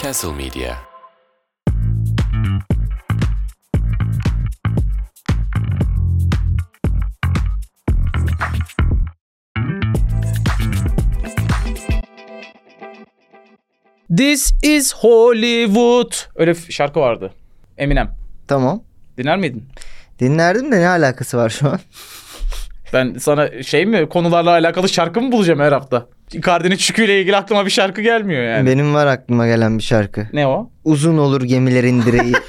Castle Media. This is Hollywood. Öyle f- şarkı vardı. Eminem. Tamam. Dinler miydin? Dinlerdim de ne alakası var şu an? Ben sana şey mi konularla alakalı şarkı mı bulacağım her hafta? Icardi'nin çüküyle ilgili aklıma bir şarkı gelmiyor yani. Benim var aklıma gelen bir şarkı. Ne o? Uzun olur gemilerin direği.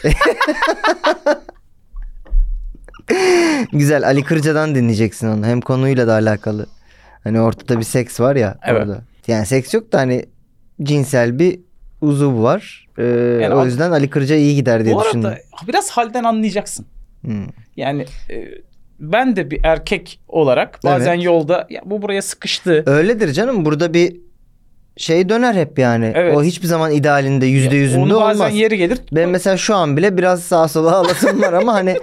Güzel Ali Kırca'dan dinleyeceksin onu. Hem konuyla da alakalı. Hani ortada bir seks var ya Evet. orada. Yani seks yok da hani cinsel bir uzuv var. Ee, Yani o ad- yüzden Ali Kırca iyi gider diye Bu arada düşündüm. biraz halden anlayacaksın. Hmm. Yani e, ben de bir erkek olarak bazen yolda ya bu buraya sıkıştı. Öyledir canım. Burada bir şey döner hep yani. Evet. O hiçbir zaman idealinde yüzde yüzünde Onun olmaz. bazen yeri gelir. Ben mesela şu an bile biraz sağa sola alasım var ama hani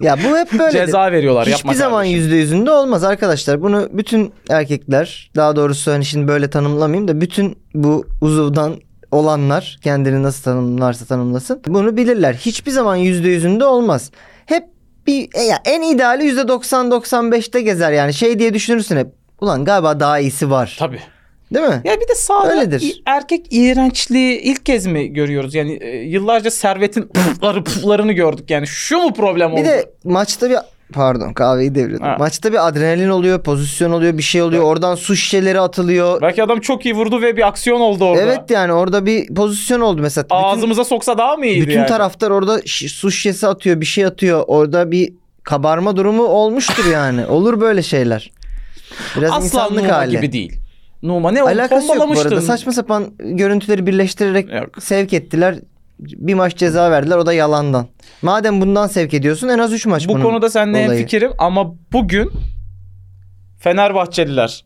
ya bu hep böyle. ceza veriyorlar yapma Hiçbir zaman kardeşim. yüzde yüzünde olmaz arkadaşlar. Bunu bütün erkekler daha doğrusu hani şimdi böyle tanımlamayayım da bütün bu uzuvdan olanlar kendini nasıl tanımlarsa tanımlasın bunu bilirler. Hiçbir zaman yüzde yüzünde olmaz. Hep bir e ya en ideali yüzde 90-95'te gezer yani şey diye düşünürsün hep. Ulan galiba daha iyisi var. Tabii. Değil mi? Ya bir de sağda Öyledir. i- erkek iğrençliği ilk kez mi görüyoruz? Yani e, yıllarca servetin pufları puflarını gördük. Yani şu mu problem oldu? Bir de maçta bir pardon kahveyi devirdim. Ha. Maçta bir adrenalin oluyor, pozisyon oluyor, bir şey oluyor. Oradan su şişeleri atılıyor. Belki adam çok iyi vurdu ve bir aksiyon oldu orada. Evet yani orada bir pozisyon oldu mesela. Bütün- Ağzımıza soksa daha mı iyiydi bütün, yani? taraftar orada şi- su şişesi atıyor, bir şey atıyor. Orada bir kabarma durumu olmuştur yani. Olur böyle şeyler. Biraz Asla insanlık Numa hali. gibi değil. Numa ne oldu? Alakası yok bu arada. Pompalamıştın. Saçma sapan görüntüleri birleştirerek Yok. sevk ettiler. Bir maç ceza verdiler o da yalandan. Madem bundan sevk ediyorsun en az 3 maç Bu bunun konuda seninle olayı. hemfikirim ama bugün Fenerbahçeliler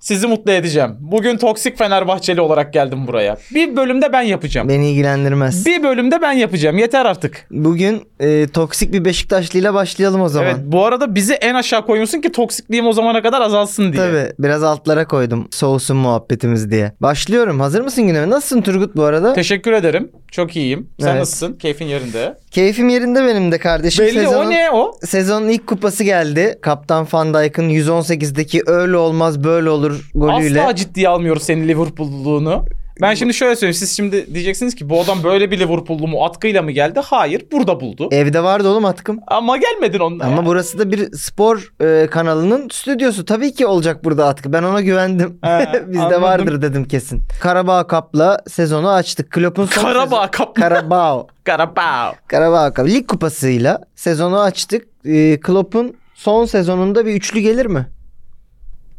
sizi mutlu edeceğim. Bugün toksik Fenerbahçeli olarak geldim buraya. Bir bölümde ben yapacağım. Beni ilgilendirmez. Bir bölümde ben yapacağım. Yeter artık. Bugün e, toksik bir Beşiktaşlıyla başlayalım o zaman. Evet bu arada bizi en aşağı koyuyorsun ki toksikliğim o zamana kadar azalsın diye. Tabii biraz altlara koydum soğusun muhabbetimiz diye. Başlıyorum. Hazır mısın gündeme? Nasılsın Turgut bu arada? Teşekkür ederim. Çok iyiyim. Sen Evet. nasılsın? Keyfin yerinde. Keyfim yerinde benim de kardeşim. Belli sezonun, o ne o? Sezonun ilk kupası geldi. Kaptan Van Dijk'ın 118'deki öyle olmaz böyle olur golüyle. Asla ciddiye almıyoruz senin Liverpool'luluğunu. Ben şimdi şöyle söyleyeyim. Siz şimdi diyeceksiniz ki bu adam böyle bir Liverpool'lu mu atkıyla mı geldi? Hayır. Burada buldu. Evde vardı oğlum atkım. Ama gelmedin onunla. E- Ama ya. burası da bir spor e, kanalının stüdyosu. Tabii ki olacak burada atkı. Ben ona güvendim. Ha, Bizde anladım. vardır dedim kesin. Karabağ Kap'la sezonu açtık. Klopp'un son sezonu- Karabağ kaplı. Karabağ. Karabağ. Karabağ Cup. Lig kupasıyla sezonu açtık. Ee, Klopp'un son sezonunda bir üçlü gelir mi?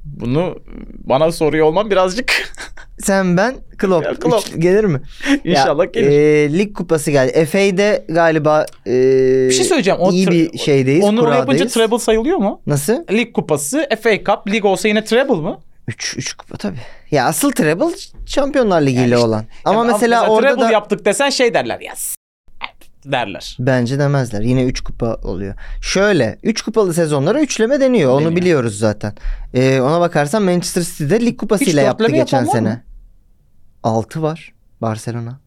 Bunu bana soruyor olman birazcık Sen ben Klopp. Ya, Klopp. Üçlü gelir mi? inşallah Ya, gelir. e, lig kupası geldi. FA'de galiba e, bir şey söyleyeceğim. O iyi tre- bir şeydeyiz. Onu oraya yapınca kuradayız. treble sayılıyor mu? Nasıl? Lig kupası, FA Cup, lig olsa yine treble mı? 3 3 kupa tabii. Ya asıl treble Şampiyonlar Ligi'yle Yani işte- olan. Ama Yani mesela orada treble da yaptık desen şey derler. Yes. Derler. Bence demezler. Yine 3 kupa oluyor. Şöyle 3 kupalı sezonlara üçleme deniyor. Onu Deniyor. biliyoruz zaten. Ee, ona bakarsan Manchester City'de lig Hiç kupasıyla dörtleme yaptı yapan geçen var mı? sene. 6 var Barcelona.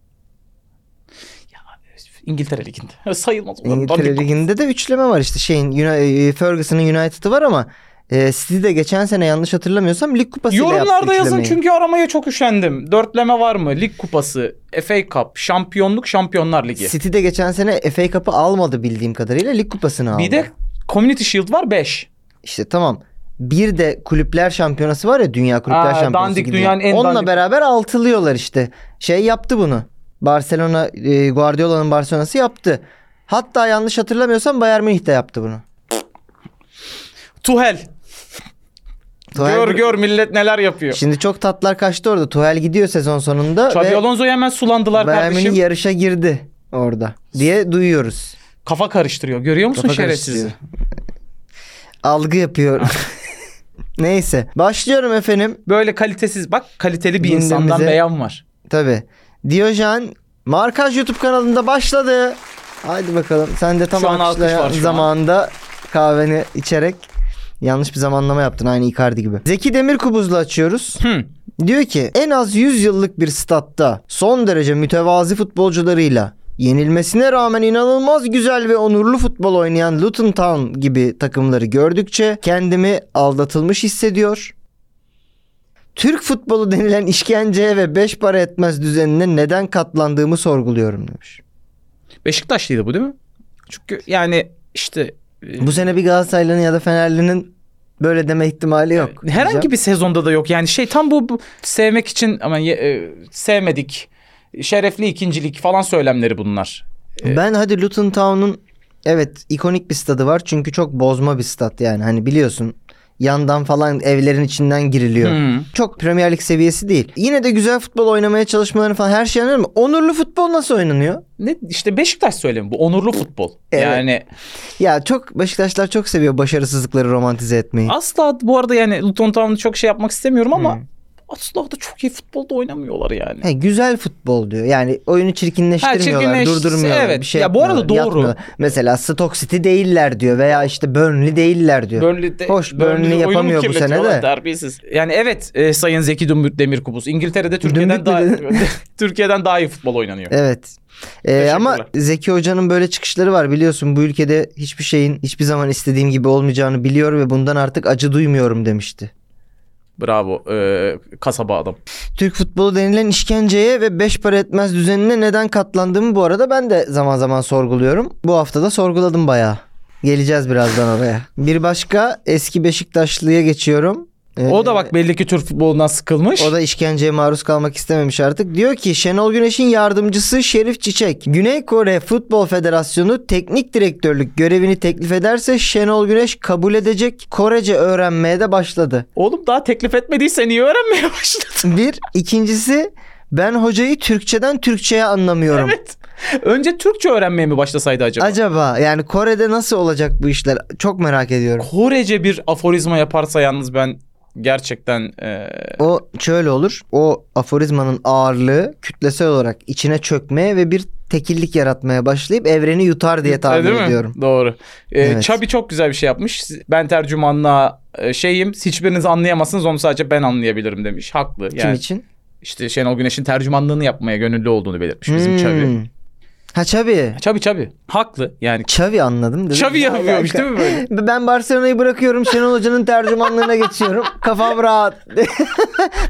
İngiltere liginde. Sayılmaz. Ulan İngiltere dandik- liginde de üçleme var işte şeyin Uni- e, Ferguson'ın United'ı var ama e, City'de geçen sene yanlış hatırlamıyorsam lig kupasıyla yaptı Yorumlarda yazın üçlemeyi. çünkü aramaya çok üşendim. Dörtleme var mı? Lig kupası, FA Cup, şampiyonluk, şampiyonlar ligi. City'de geçen sene FA Cup'ı almadı bildiğim kadarıyla lig kupasını aldı. Bir de Community Shield var 5. İşte tamam. Bir de kulüpler şampiyonası var ya dünya kulüpler Aa, şampiyonası dandik, gibi. dünyanın en Onunla dandik. beraber altılıyorlar işte. Şey yaptı bunu. Barcelona e, Guardiola'nın Barcelona'sı yaptı. Hatta yanlış hatırlamıyorsam Bayern Münih de yaptı bunu. Tuhel. Tuchel- gör gör millet neler yapıyor. Şimdi çok tatlar kaçtı orada. Tuhel gidiyor sezon sonunda Xabi ve Alonso'yu hemen sulandılar Bayern kardeşim. Münih yarışa girdi orada diye duyuyoruz. Kafa karıştırıyor. Görüyor musun Kafa şerefsizi? karıştırıyor. Algı yapıyor. Neyse başlıyorum efendim. Böyle kalitesiz. Bak kaliteli bir Gündemimize- insandan beyan var. Tabii. Diyojen Markaj YouTube kanalında başladı. Haydi bakalım. Sen de tam Şu an alkış alkışlayan var şu an. zamanında kahveni içerek Yanlış bir zamanlama yaptın aynı Icardi gibi. Zeki Demirkubuz'la açıyoruz. Hı. Diyor ki en az 100 yıllık bir statta son derece mütevazi futbolcularıyla yenilmesine rağmen inanılmaz güzel ve onurlu futbol oynayan Luton Town gibi takımları gördükçe kendimi aldatılmış hissediyor. Türk futbolu denilen işkenceye ve beş para etmez düzenine neden katlandığımı sorguluyorum demiş. Beşiktaşlıydı bu değil mi? Çünkü yani işte e, Bu sene bir Galatasaraylı'nın ya da Fenerli'nin böyle deme ihtimali yok. herhangi bir sezonda da yok. Yani şey tam bu, bu sevmek için ama ye- e, sevmedik. Şerefli ikincilik falan söylemleri bunlar. E, Ben hadi Luton Town'un evet ikonik bir stadı var çünkü çok bozma bir stat yani hani biliyorsun yandan falan evlerin içinden giriliyor. Hı. Çok Premier Lig seviyesi değil. Yine de güzel futbol oynamaya çalışmaları falan her şey anlarım. ama Onurlu futbol nasıl oynanıyor? Ne işte Beşiktaş söylemi bu onurlu futbol. Evet. Yani Ya çok Beşiktaşlar çok seviyor başarısızlıkları romantize etmeyi. asla bu arada yani Luton Town'u çok şey yapmak istemiyorum Hmm. ama asla da çok iyi futbolda oynamıyorlar yani. He, güzel futbol diyor. Yani oyunu çirkinleştirmiyorlar, Ha, çirkinleş- durdurmuyorlar, evet. bir şey Ya bu arada yapmıyorlar, doğru. yapmıyorlar. Mesela Stoke City değiller diyor veya işte Burnley değiller diyor. Burnley'de, Hoş, Burnley oyununu yapamıyor bu sene de. kirletiyorlar, Terbiyesiz. Yani evet e, Sayın Zeki Dümbür Demirkubuz İngiltere'de Türkiye'den Dümbük daha mü Türkiye'den daha iyi futbol oynanıyor. Evet. Ee, ama Teşekkürler. Zeki Hoca'nın böyle çıkışları var biliyorsun. Bu ülkede hiçbir şeyin hiçbir zaman istediğim gibi olmayacağını biliyor ve bundan artık acı duymuyorum demişti. Bravo e, kasaba adam. Türk futbolu denilen işkenceye ve beş para etmez düzenine neden katlandığımı bu arada ben de zaman zaman sorguluyorum. Bu hafta da sorguladım bayağı. Geleceğiz birazdan oraya. Bir başka eski Beşiktaşlı'ya geçiyorum. Ee, O da bak belli ki Türk futbolundan sıkılmış. O da işkenceye maruz kalmak istememiş artık. Diyor ki Şenol Güneş'in yardımcısı Şerif Çiçek. Güney Kore Futbol Federasyonu teknik direktörlük görevini teklif ederse Şenol Güneş kabul edecek. Korece öğrenmeye de başladı. Oğlum daha teklif etmediyse niye öğrenmeye başladın? Bir. ikincisi ben hocayı Türkçeden Türkçeye anlamıyorum. evet. Önce Türkçe öğrenmeye mi başlasaydı acaba? Acaba yani Kore'de nasıl olacak bu işler? Çok merak ediyorum. Korece bir aforizma yaparsa yalnız ben gerçekten e, O şöyle olur. O aforizmanın ağırlığı kütlesel olarak içine çökmeye ve bir tekillik yaratmaya başlayıp evreni yutar diye tahmin Değil mi? ediyorum. Doğru. Ee, Evet. Chubby çok güzel bir şey yapmış. Ben tercümanlığa e, şeyim. Hiçbiriniz anlayamazsınız onu sadece ben anlayabilirim demiş. Haklı. Kim Yani için? işte Şenol Güneş'in tercümanlığını yapmaya gönüllü olduğunu belirtmiş bizim Hmm. Chubby. Ha Çabi. Chubby Chubby. Haklı. Yani Çavi anladım. Dedim. Chubby Ne yapıyormuş alaka? değil mi böyle? Ben Barcelona'yı bırakıyorum. Şenol Hoca'nın tercümanlığına geçiyorum. Kafam rahat.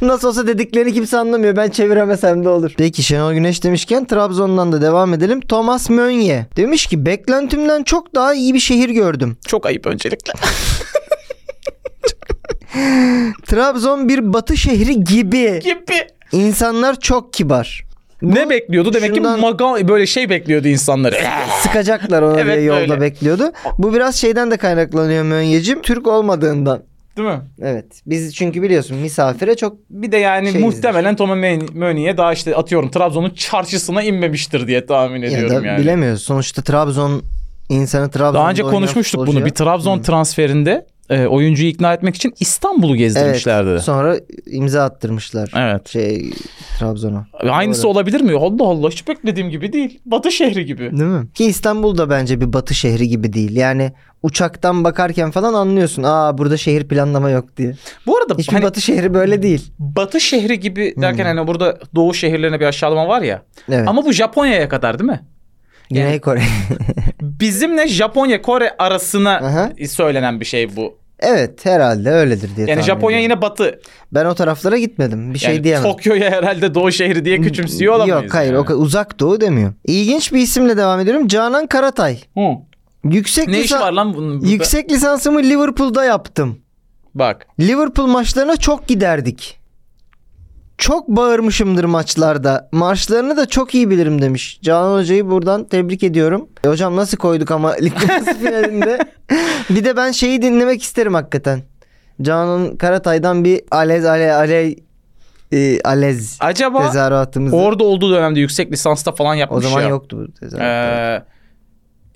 Nasıl olsa dediklerini kimse anlamıyor. Ben çeviremesem de olur. Peki Şenol Güneş demişken Trabzon'dan da devam edelim. Thomas Mönye demiş ki beklentimden çok daha iyi bir şehir gördüm. Çok ayıp öncelikle. Trabzon bir batı şehri gibi. Gibi. İnsanlar çok kibar. ne bekliyordu? Demek şundan- ki maga böyle şey bekliyordu insanları. Sıkacaklar onu Evet, diye yolda böyle. bekliyordu. Bu biraz şeyden de kaynaklanıyor Mönye'cim. Türk olmadığından. değil mi? Evet. Biz çünkü biliyorsun misafire çok Bir de yani Şey muhtemelen Tom Mönü'ye daha işte atıyorum Trabzon'un çarşısına inmemiştir diye tahmin ya ediyorum da yani. bilemiyoruz. Sonuçta Trabzon insanı Trabzon'da Daha önce oynayan konuşmuştuk bunu. futbolcuya- Bir Trabzon transferinde e, oyuncuyu ikna etmek için İstanbul'u evet, gezdirmişlerdi. Evet. sonra imza attırmışlar. Şey Trabzon'a. Aynısı Doğru. olabilir mi? Allah Allah hiç beklediğim gibi değil. Batı şehri gibi. Değil mi? Ki İstanbul da bence bir batı şehri gibi değil. Yani uçaktan bakarken falan anlıyorsun. Aa burada şehir planlama yok diye. Bu arada Hiçbir hani batı... batı şehri böyle değil. şehri gibi derken hani burada doğu şehirlerine bir aşağılama var ya. Hmm. Evet. Ama bu Japonya'ya kadar değil mi? Güney yani- Kore. Bizimle Japonya Kore arasına Aha. söylenen bir şey bu. evet herhalde öyledir diye Yani tahmin Japonya ediyorum. yine batı. Ben o taraflara gitmedim. Bir şey yani diyemem. Tokyo'ya herhalde doğu şehri diye küçümsüyor olamayız. Yok hayır yani. o ka- uzak doğu demiyor. İlginç bir isimle devam ediyorum. Canan Karatay. Hı. Yüksek Ne lisan- iş var lan bunun? burada? Yüksek lisansımı Liverpool'da yaptım. Bak. Liverpool maçlarına çok giderdik. Çok bağırmışımdır maçlarda. Marşlarını da çok iyi bilirim demiş. Canan Hoca'yı buradan tebrik ediyorum. E, hocam nasıl koyduk ama lig kupası finalinde. bir de ben şeyi dinlemek isterim hakikaten. Canan Karatay'dan bir alez ale ale e, alez Acaba tezahüratımızı. Orada olduğu dönemde yüksek lisansta falan yapmış o zaman ya. yoktu bu tezahürat. Ee,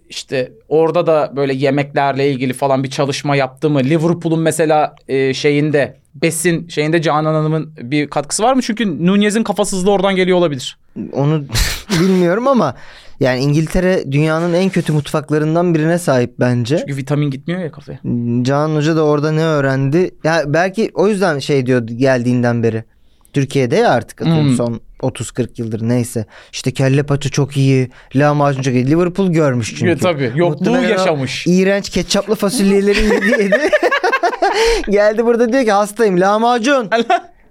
işte orada da böyle yemeklerle ilgili falan bir çalışma yaptı mı? Liverpool'un mesela e, şeyinde besin şeyinde Canan Hanım'ın bir katkısı var mı? Çünkü Nunez'in kafasızlığı oradan geliyor olabilir. Onu bilmiyorum ama yani İngiltere dünyanın en kötü mutfaklarından birine sahip bence. Çünkü vitamin gitmiyor ya kafaya. Can Hoca da orada ne öğrendi? Ya belki o yüzden şey diyordu geldiğinden beri. Türkiye'de ya artık atıyorum Hmm. son 30-40 yıldır neyse. İşte kelle paça çok iyi. Lahmacun çok iyi. Liverpool görmüş çünkü. Çünkü, E, tabii yokluğu Muhtemelen o yaşamış. İğrenç ketçaplı fasulyeleri yedi yedi. Geldi burada diyor ki hastayım. Lahmacun.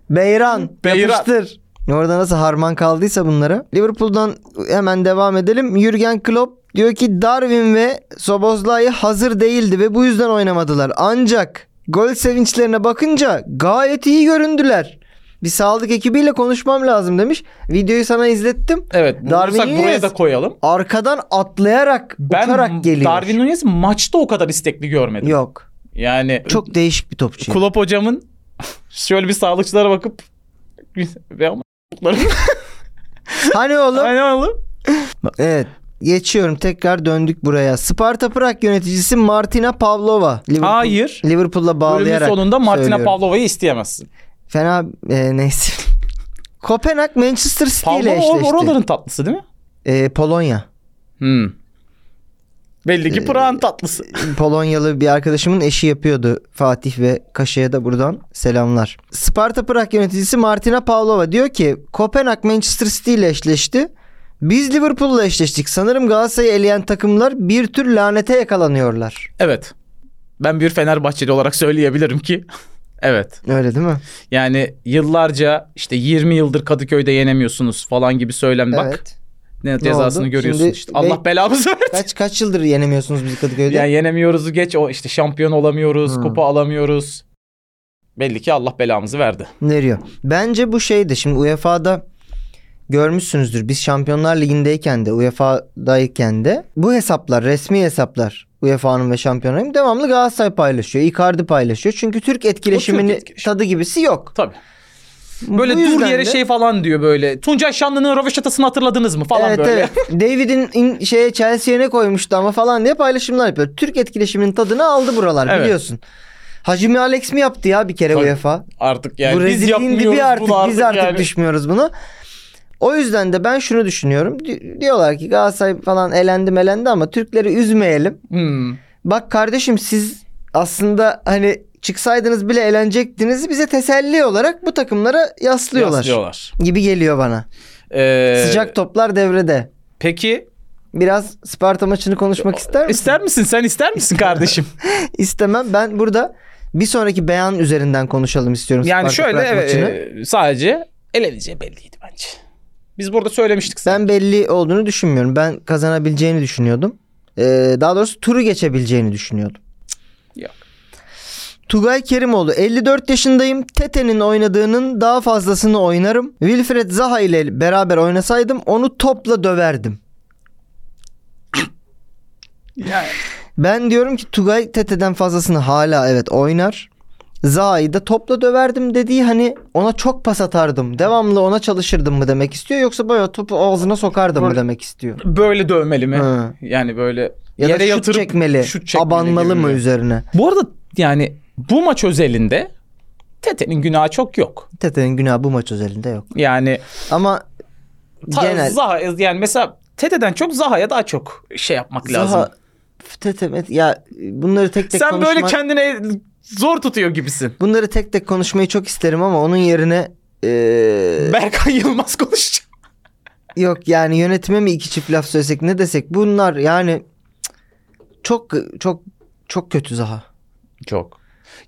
Beyran. Beyran. Yapıştır. Orada nasıl harman kaldıysa bunlara. Liverpool'dan hemen devam edelim. Jürgen Klopp diyor ki Darwin ve Sobozlai hazır değildi ve bu yüzden oynamadılar. Ancak gol sevinçlerine bakınca gayet iyi göründüler. Bir sağlık ekibiyle konuşmam lazım demiş. Videoyu sana izlettim. Evet. Darwin bulursak buraya Nunez. da koyalım. Arkadan atlayarak, Ben uçarak geliyor. Darwin Nunez'i maçta o kadar istekli görmedim. Yok. Yani Çok şey. değişik bir topçu. Klopp hocamın şöyle bir sağlıkçılara bakıp ve ama Hani oğlum? Aynen oğlum. Evet. Geçiyorum tekrar döndük buraya. Sparta Prag yöneticisi Martina Pavlova. Liverpool- Hayır. Liverpool'la Bölümün bağlayarak sonunda Martina söylüyorum. Pavlova'yı isteyemezsin. Fena e, neyse. Kopenhag Manchester City ile Pavlova or- eşleşti. oraların tatlısı değil mi? E, Polonya. Hmm. Belli Ee, ki Pırağın tatlısı. Polonyalı bir arkadaşımın eşi yapıyordu Fatih ve Kaşa'ya da buradan selamlar. Sparta Prag yöneticisi Martina Pavlova diyor ki Kopenhag Manchester City ile eşleşti. Biz Liverpool'la eşleştik. Sanırım Galatasaray'ı eleyen takımlar bir tür lanete yakalanıyorlar. Evet. Ben bir Fenerbahçeli olarak söyleyebilirim ki. evet. Öyle değil mi? Yani yıllarca işte 20 yıldır Kadıköy'de yenemiyorsunuz falan gibi söylem bak. Evet. Ne cezasını oldu? görüyorsun Şimdi işte. be- Allah belamızı versin. Kaç kaç yıldır yenemiyorsunuz bizi Kadıköy'de? Yani yenemiyoruz geç o işte şampiyon olamıyoruz, Hmm. kupa alamıyoruz. Belli ki Allah belamızı verdi. Veriyor. Bence bu şeydi. Şimdi UEFA'da görmüşsünüzdür. Biz Şampiyonlar Ligi'ndeyken de UEFA'dayken de bu hesaplar resmi hesaplar UEFA'nın ve Şampiyonlar Ligi'nin devamlı Galatasaray paylaşıyor. Icardi paylaşıyor. Çünkü Türk etkileşiminin etkileşimi. tadı gibisi yok. Tabii. Böyle Bu dur yüzden yere de- şey falan diyor böyle. Tuncay Şanlı'nın röveşatasını hatırladınız mı falan evet, böyle. Evet. David'in in- şeye Chelsea'ye ne koymuştu ama falan diye paylaşımlar yapıyor. Türk etkileşiminin tadını aldı buralar Evet. biliyorsun. Hacimi Alex mi yaptı ya bir kere E Tabii. UEFA? Artık yani bu biz rezilliğin yapmıyoruz dibi artık, bunu artık. biz artık yani. düşmüyoruz bunu. O yüzden de ben şunu düşünüyorum. Di- Diyorlar ki Galatasaray falan elendi melendi ama Türkleri üzmeyelim. Hmm. Bak kardeşim siz aslında hani çıksaydınız bile elenecektiniz. Bize teselli olarak bu takımlara yaslıyorlar, Yaslıyorlar. gibi geliyor bana. Ee, Sıcak toplar devrede. Peki Biraz Sparta maçını konuşmak ister misin? ister misin? Sen ister misin kardeşim? İstemem. Ben burada bir sonraki beyan üzerinden konuşalım istiyorum. yani Sparta şöyle Prag evet, maçını. e, sadece eleneceği belliydi bence. Biz burada söylemiştik. zaten. Ben belli olduğunu düşünmüyorum. Ben kazanabileceğini düşünüyordum. Ee, daha doğrusu turu geçebileceğini düşünüyordum. Yok. Tugay Kerimoğlu 54 yaşındayım. Tete'nin oynadığının daha fazlasını oynarım. Wilfred Zaha ile beraber oynasaydım onu topla döverdim. Yani- Ben diyorum ki Tugay Tete'den fazlasını hala evet oynar. Zaha'yı da topla döverdim dediği hani ona çok pas atardım. Devamlı ona çalışırdım mı demek istiyor yoksa böyle topu ağzına sokardım mı Böyle- demek istiyor. böyle dövmeli mi? Hı. Yani böyle Ya yere da şut yatırıp çekmeli, şut çekmeli abanmalı gibi mı mi? üzerine? Bu arada yani bu maç özelinde Tete'nin günahı çok yok. Tete'nin günahı bu maç özelinde yok. Yani Ama ta- genel Zaha yani mesela Tete'den çok Zaha'ya daha çok şey yapmak lazım. Zaha Tete Met- ya bunları tek tek Sen konuşma- böyle kendine zor tutuyor gibisin. bunları tek tek konuşmayı çok isterim ama onun yerine eee, Berkan Yılmaz konuşacak. yok yani yönetime mi iki çift laf söylesek ne desek bunlar yani çok çok çok kötü Zaha. Çok.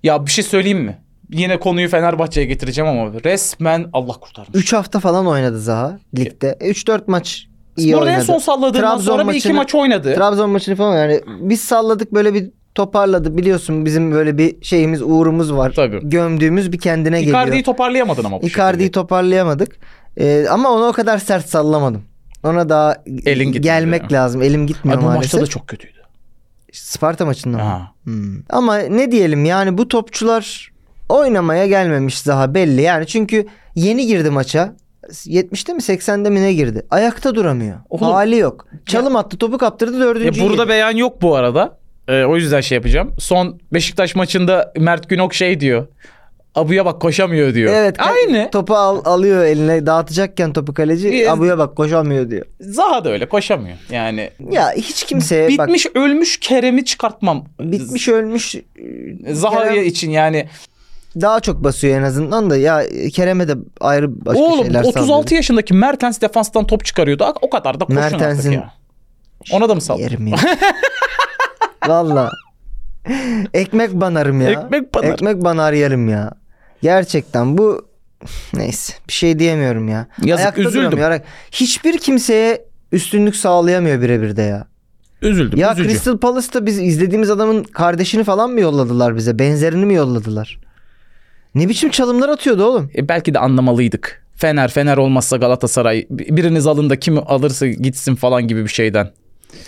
Ya bir şey söyleyeyim mi? Yine konuyu Fenerbahçe'ye getireceğim ama resmen Allah kurtarmış. 3 hafta falan oynadı Zaha ligde. 3-4 maç iyi Burada en oynadı. son salladığından Trabzon sonra bir iki maçını- maç oynadı. Trabzon maçını falan yani biz salladık böyle bir toparladı biliyorsun bizim böyle bir şeyimiz uğrumuz var. Tabii. Gömdüğümüz bir kendine Icardi'yi geliyor. toparlayamadın ama bu Icardi'yi şekilde. toparlayamadık. Ee, ama ona o kadar sert sallamadım. Ona daha Elin gitmedi. gelmek lazım. Elim Ay, gitmiyor bu maalesef. maçta da çok kötüydü. Sparta maçında mı? Ha. Hmm. Ama ne diyelim yani bu topçular oynamaya gelmemiş daha belli. Yani çünkü yeni girdi maça. 70'te mi 80'de mi ne girdi? Ayakta duramıyor. Oğlum. Hali yok. Çalım attı topu kaptırdı E, dördüncü. burada yedi. beyan yok bu arada. E, o yüzden şey yapacağım. Son Beşiktaş maçında Mert Günok şey diyor. Abuya bak koşamıyor diyor. Evet. ka- Aynı. Topu al- alıyor eline dağıtacakken topu kaleci. Yes. Abuya bak koşamıyor diyor. Zaha da öyle koşamıyor. Yani Ya hiç kimseye E, bak bitmiş ölmüş Kerem'i çıkartmam. bitmiş ölmüş e, Zaha Kerem için yani. daha çok basıyor en azından da ya e, Kerem'e de ayrı başka Oğlum şeyler 36 sallıyorum. yaşındaki Mertens defanstan top çıkarıyordu. O kadar da koşun Mertens'in- artık ya. Ona da mı saldın? Yerim ya. Valla. Ekmek banarım ya. Ekmek banar. Ekmek banar yerim ya. Gerçekten bu neyse bir şey diyemiyorum ya. Yazık, üzüldüm. duramıyor. Ayak- Hiçbir kimseye üstünlük sağlayamıyor birebir de ya. Üzüldüm. Ya üzücü. Crystal Palace'ta biz izlediğimiz adamın kardeşini falan mı yolladılar bize? Benzerini mi yolladılar? Ne biçim çalımlar atıyordu oğlum? E, belki de anlamalıydık. Fener Fener olmazsa Galatasaray biriniz alın da kim alırsa gitsin falan gibi bir şeyden.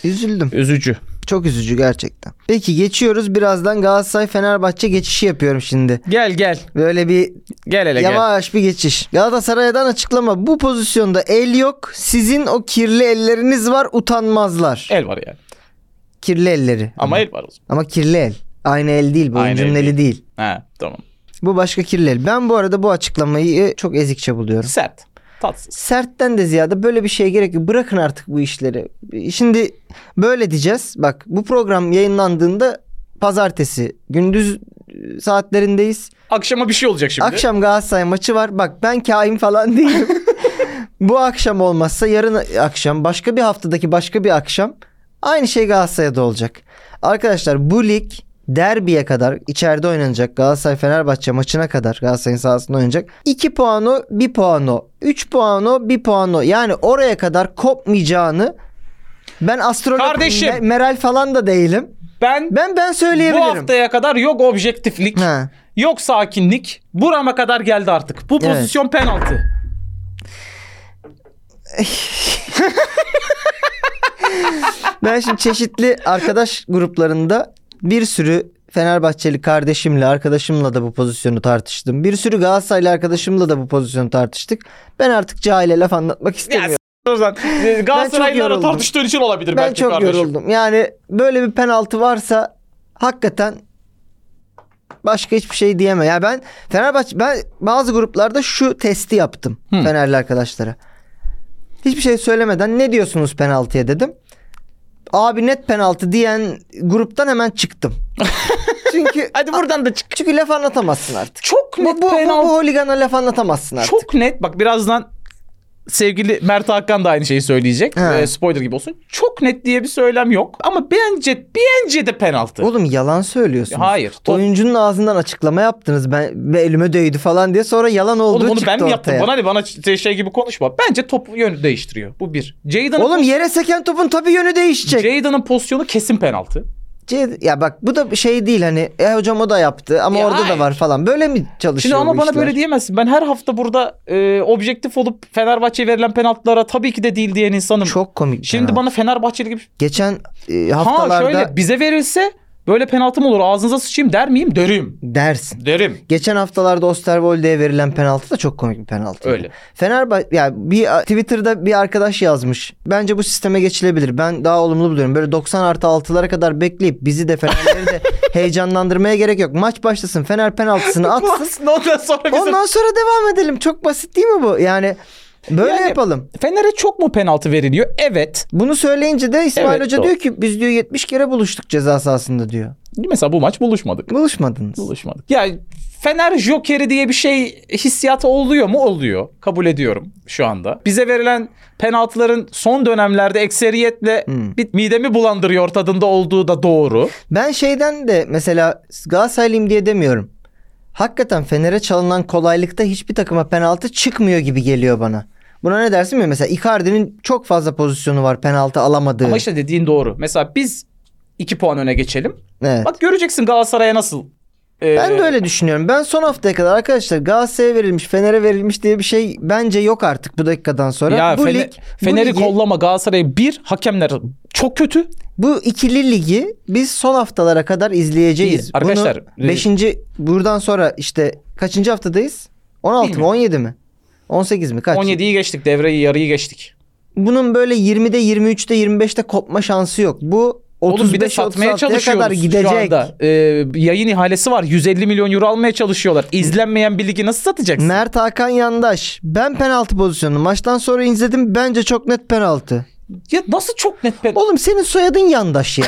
Üzüldüm. Üzücü. Çok üzücü gerçekten. Peki geçiyoruz. Birazdan Galatasaray Fenerbahçe geçişi yapıyorum şimdi. Gel gel. Böyle bir Gel hele gel. Yavaş bir geçiş. Galatasaray'dan açıklama. Bu pozisyonda el yok. Sizin o kirli elleriniz var. Utanmazlar. El var yani. Kirli elleri. Ama el var o zaman. Ama kirli el. Aynı el değil. Bu Aynı oyuncunun el eli değil. He tamam. Bu başka kirli el. Ben bu arada bu açıklamayı çok ezikçe buluyorum. Sert. Tatsız. Sertten de ziyade böyle bir şeye gerek yok. Bırakın artık bu işleri. Şimdi böyle diyeceğiz. Bak bu program yayınlandığında pazartesi gündüz e, saatlerindeyiz. Akşama bir şey olacak şimdi. Akşam Galatasaray maçı var. Bak ben kain falan değilim. Bu akşam olmazsa yarın akşam başka bir haftadaki başka bir akşam aynı şey Galatasaray'da olacak. Arkadaşlar bu lig derbiye kadar içeride oynanacak Galatasaray Fenerbahçe maçına kadar Galatasaray'ın sahasında oynanacak. 2 puan o 1 puan o 3 puan o 1 puan o yani oraya kadar kopmayacağını ben astrolog Kardeşim. Me- Meral falan da değilim. Ben, Ben ben bu söyleyebilirim. haftaya kadar yok objektiflik, Ha. yok sakinlik. Burama kadar geldi artık. Bu Evet. pozisyon penaltı. Ben şimdi çeşitli arkadaş gruplarında bir sürü Fenerbahçeli kardeşimle, arkadaşımla da bu pozisyonu tartıştım. Bir sürü Galatasaraylı arkadaşımla da bu pozisyonu tartıştık. Ben artık cahile laf anlatmak Ya istemiyorum. s- o zaman. Ee, Galatasaraylılarla yoruldum. tartıştığın için olabilir ben belki çok kardeşim. yoruldum. Yani böyle bir penaltı varsa hakikaten başka hiçbir şey diyemem. Ya ben Fenerbahçe ben bazı gruplarda şu testi yaptım Hmm. Fenerli arkadaşlara. Hiçbir şey söylemeden ne diyorsunuz penaltıya dedim. Abi net penaltı diyen gruptan hemen çıktım. çünkü Hadi buradan da çık. çünkü laf anlatamazsın artık. Çok Bu, net bu, bu, penaltı. bu holigana laf anlatamazsın artık. Çok net. Bak birazdan sevgili Mert Hakan da aynı şeyi söyleyecek. He. Ee, spoiler gibi olsun. Çok net diye bir söylem yok. Ama bence bence de penaltı. Oğlum yalan söylüyorsun. Hayır. Top- Oyuncunun ağzından açıklama yaptınız. Ben ve elime değdi falan diye sonra yalan olduğu Oğlum onu çıktı ben mi yaptım? ortaya. Bana ne bana ç- şey gibi konuşma. Bence top yönü değiştiriyor. Bu bir. Jadon'ın Oğlum şey- yere seken topun tabii yönü değişecek. Jadon'ın pozisyonu kesin penaltı. C- ya bak bu da şey değil hani e hocam o da yaptı ama Ya orada da hayır. var falan. Böyle mi Şimdi çalışıyor ama bu bana işler? böyle diyemezsin. Ben her hafta burada e, objektif olup Fenerbahçe'ye verilen penaltılara tabii ki de değil diyen insanım. Çok komik. Şimdi penaltı. bana Fenerbahçeli gibi geçen e, ha haftalarda şöyle bize verilse böyle penaltı mı olur? Ağzınıza sıçayım der miyim? Derim. dersin. Derim. Geçen haftalarda Osterwolde'ye verilen penaltı da çok komik bir penaltı. Öyle. Fenerbahçe ya bir Twitter'da bir arkadaş yazmış. Bence bu sisteme geçilebilir. Ben daha olumlu buluyorum. Böyle 90 artı 6'lara kadar bekleyip bizi de Fenerleri de heyecanlandırmaya gerek yok. Maç başlasın. Fener penaltısını Bu atsın. aslında ondan sonra bizim Ondan sonra devam edelim. Çok basit değil mi bu? Yani böyle Yani- yapalım. Fener'e çok mu penaltı veriliyor? Evet. Bunu söyleyince de İsmail Evet, Hoca doğru. diyor ki biz diyor 70 kere buluştuk ceza sahasında diyor. Mesela bu maç buluşmadık. Buluşmadınız. Buluşmadık. Ya Fener Joker'i diye bir şey hissiyatı oluyor mu? Oluyor. Kabul ediyorum şu anda. Bize verilen penaltıların son dönemlerde ekseriyetle Hmm. bir midemi bulandırıyor tadında olduğu da doğru. Ben şeyden de mesela Galatasaraylıyım diye demiyorum. Hakikaten Fener'e çalınan kolaylıkta hiçbir takıma penaltı çıkmıyor gibi geliyor bana. Buna ne dersin mi? Mesela Icardi'nin çok fazla pozisyonu var penaltı alamadığı. Ama işte dediğin doğru. Mesela biz 2 puan öne geçelim. Evet. Bak göreceksin Galatasaray'a nasıl. e, Ben de öyle düşünüyorum. Ben son haftaya kadar arkadaşlar Galatasaray'a verilmiş, Fener'e verilmiş diye bir şey bence yok artık bu dakikadan sonra. Ya bu Fene- lig, bu Fener'i ligi- kollama Galatasaray'ı bir hakemler çok kötü. Bu ikili ligi biz son haftalara kadar izleyeceğiz. İyi, arkadaşlar, e, Bunu beşinci buradan sonra işte kaçıncı haftadayız? 16 mı Bilmiyorum. 17 mi? 18 mi kaç? 17'yi geçtik devreyi yarıyı geçtik. Bunun böyle 20'de 23'te 25'te kopma şansı yok. Bu Oğlum bir de 35 satmaya 36'ya kadar çalışıyoruz gidecek. şu anda. Ee, yayın ihalesi var 150 milyon euro almaya çalışıyorlar. İzlenmeyen bir ligi nasıl satacaksın? Mert Hakan Yandaş. Ben penaltı pozisyonunu maçtan sonra izledim. Bence çok net penaltı. Ya nasıl çok net pe- Oğlum senin soyadın Yandaş ya.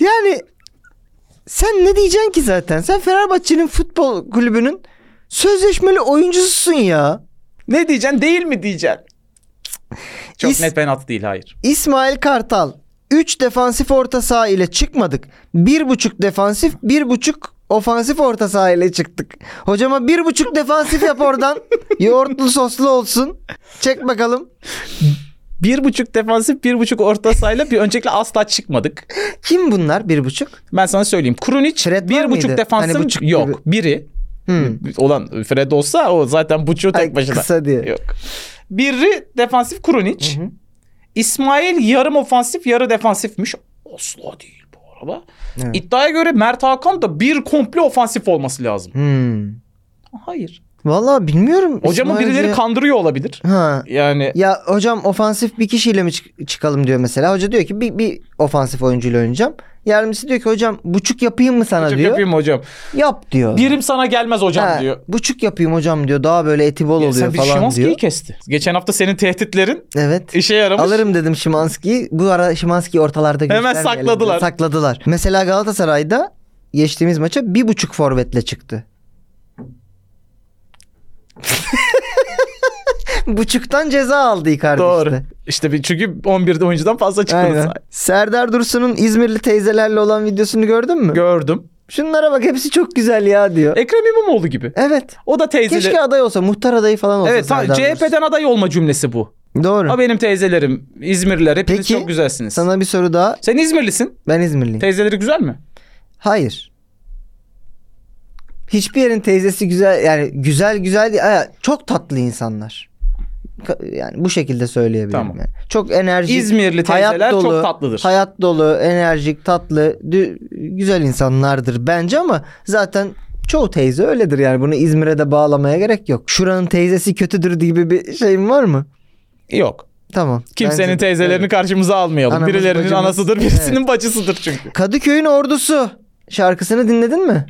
yani sen ne diyeceksin ki zaten? Sen Fenerbahçe'nin futbol kulübünün sözleşmeli oyuncususun ya. Ne diyeceksin değil mi diyeceksin? Çok İs- net penaltı değil hayır. İsmail Kartal 3 defansif orta saha ile çıkmadık. 1.5 defansif, 1.5 ofansif orta saha ile çıktık. Hocama 1.5 defansif yap oradan. Yoğurtlu soslu olsun. Çek bakalım. Bir buçuk defansif bir buçuk orta sahayla bir öncelikle asla çıkmadık. Kim bunlar 1.5? Ben sana söyleyeyim. Krunic Fred var bir buçuk mıydı? defansım Hani buçuk yok. Biri. Hmm. Olan Fred olsa o zaten buçuğu tek Ay, başına. kısa diye. Yok. Biri defansif Krunic. Hı hı. İsmail yarım ofansif yarı defansifmiş. Asla değil bu araba. Evet. İddiaya göre Mert Hakan da bir komple ofansif olması lazım. Hmm. Hayır. Vallahi bilmiyorum. Hocamı İsmail birileri Hoca- kandırıyor olabilir. Ha. Yani Ya hocam ofansif bir kişiyle mi çık- çıkalım diyor mesela. Hoca diyor ki bir, bir ofansif oyuncuyla oynayacağım. Yardımcısı diyor ki hocam buçuk yapayım mı sana çok diyor. yapayım mı hocam. Yap diyor. Birim sana gelmez hocam Ha, diyor. Buçuk yapayım hocam diyor. Daha böyle eti bol Ya oluyor sen bir falan Şimanski'yi diyor. kesti. Geçen hafta senin tehditlerin Evet. işe yaramış. Alırım dedim Şimanski'yi. Bu ara Şimanski ortalarda Hemen göstermeyelim sakladılar. diye. Sakladılar. Mesela Galatasaray'da geçtiğimiz maça bir buçuk forvetle çıktı. Buçuktan ceza aldı Icardi Doğru. işte. İşte. bir, çünkü 11'de oyuncudan fazla çıktı. Aynen. mesela. Serdar Dursun'un İzmirli teyzelerle olan videosunu gördün mü? Gördüm. Şunlara bak hepsi çok güzel ya diyor. Ekrem İmamoğlu gibi. Evet. O da teyzeleri. Keşke aday olsa. Muhtar adayı falan olsa. evet ta- Serdar Dursun. CHP'den aday olma cümlesi bu. Doğru. Ha benim teyzelerim İzmirliler hepiniz Peki, çok güzelsiniz. Sana bir soru daha. Sen İzmirlisin. Ben İzmirliyim. Teyzeleri güzel mi? Hayır. Hiçbir yerin teyzesi güzel yani güzel güzel değil. Aa, çok tatlı insanlar. Ka- Yani bu şekilde söyleyebilirim. Tamam. yani. Çok enerjik. İzmirli teyzeler çok tatlıdır. Hayat dolu, enerjik, tatlı, dü- güzel insanlardır bence ama zaten çoğu teyze öyledir yani. Bunu İzmir'e de bağlamaya gerek yok. Şuranın teyzesi kötüdür gibi bir şeyim var mı? Yok. Tamam. Kimsenin Bence- teyzelerini Evet. karşımıza almayalım. Anamız, Birilerinin bacımız. anasıdır, birisinin bacısıdır çünkü. Kadıköy'ün ordusu şarkısını dinledin mi?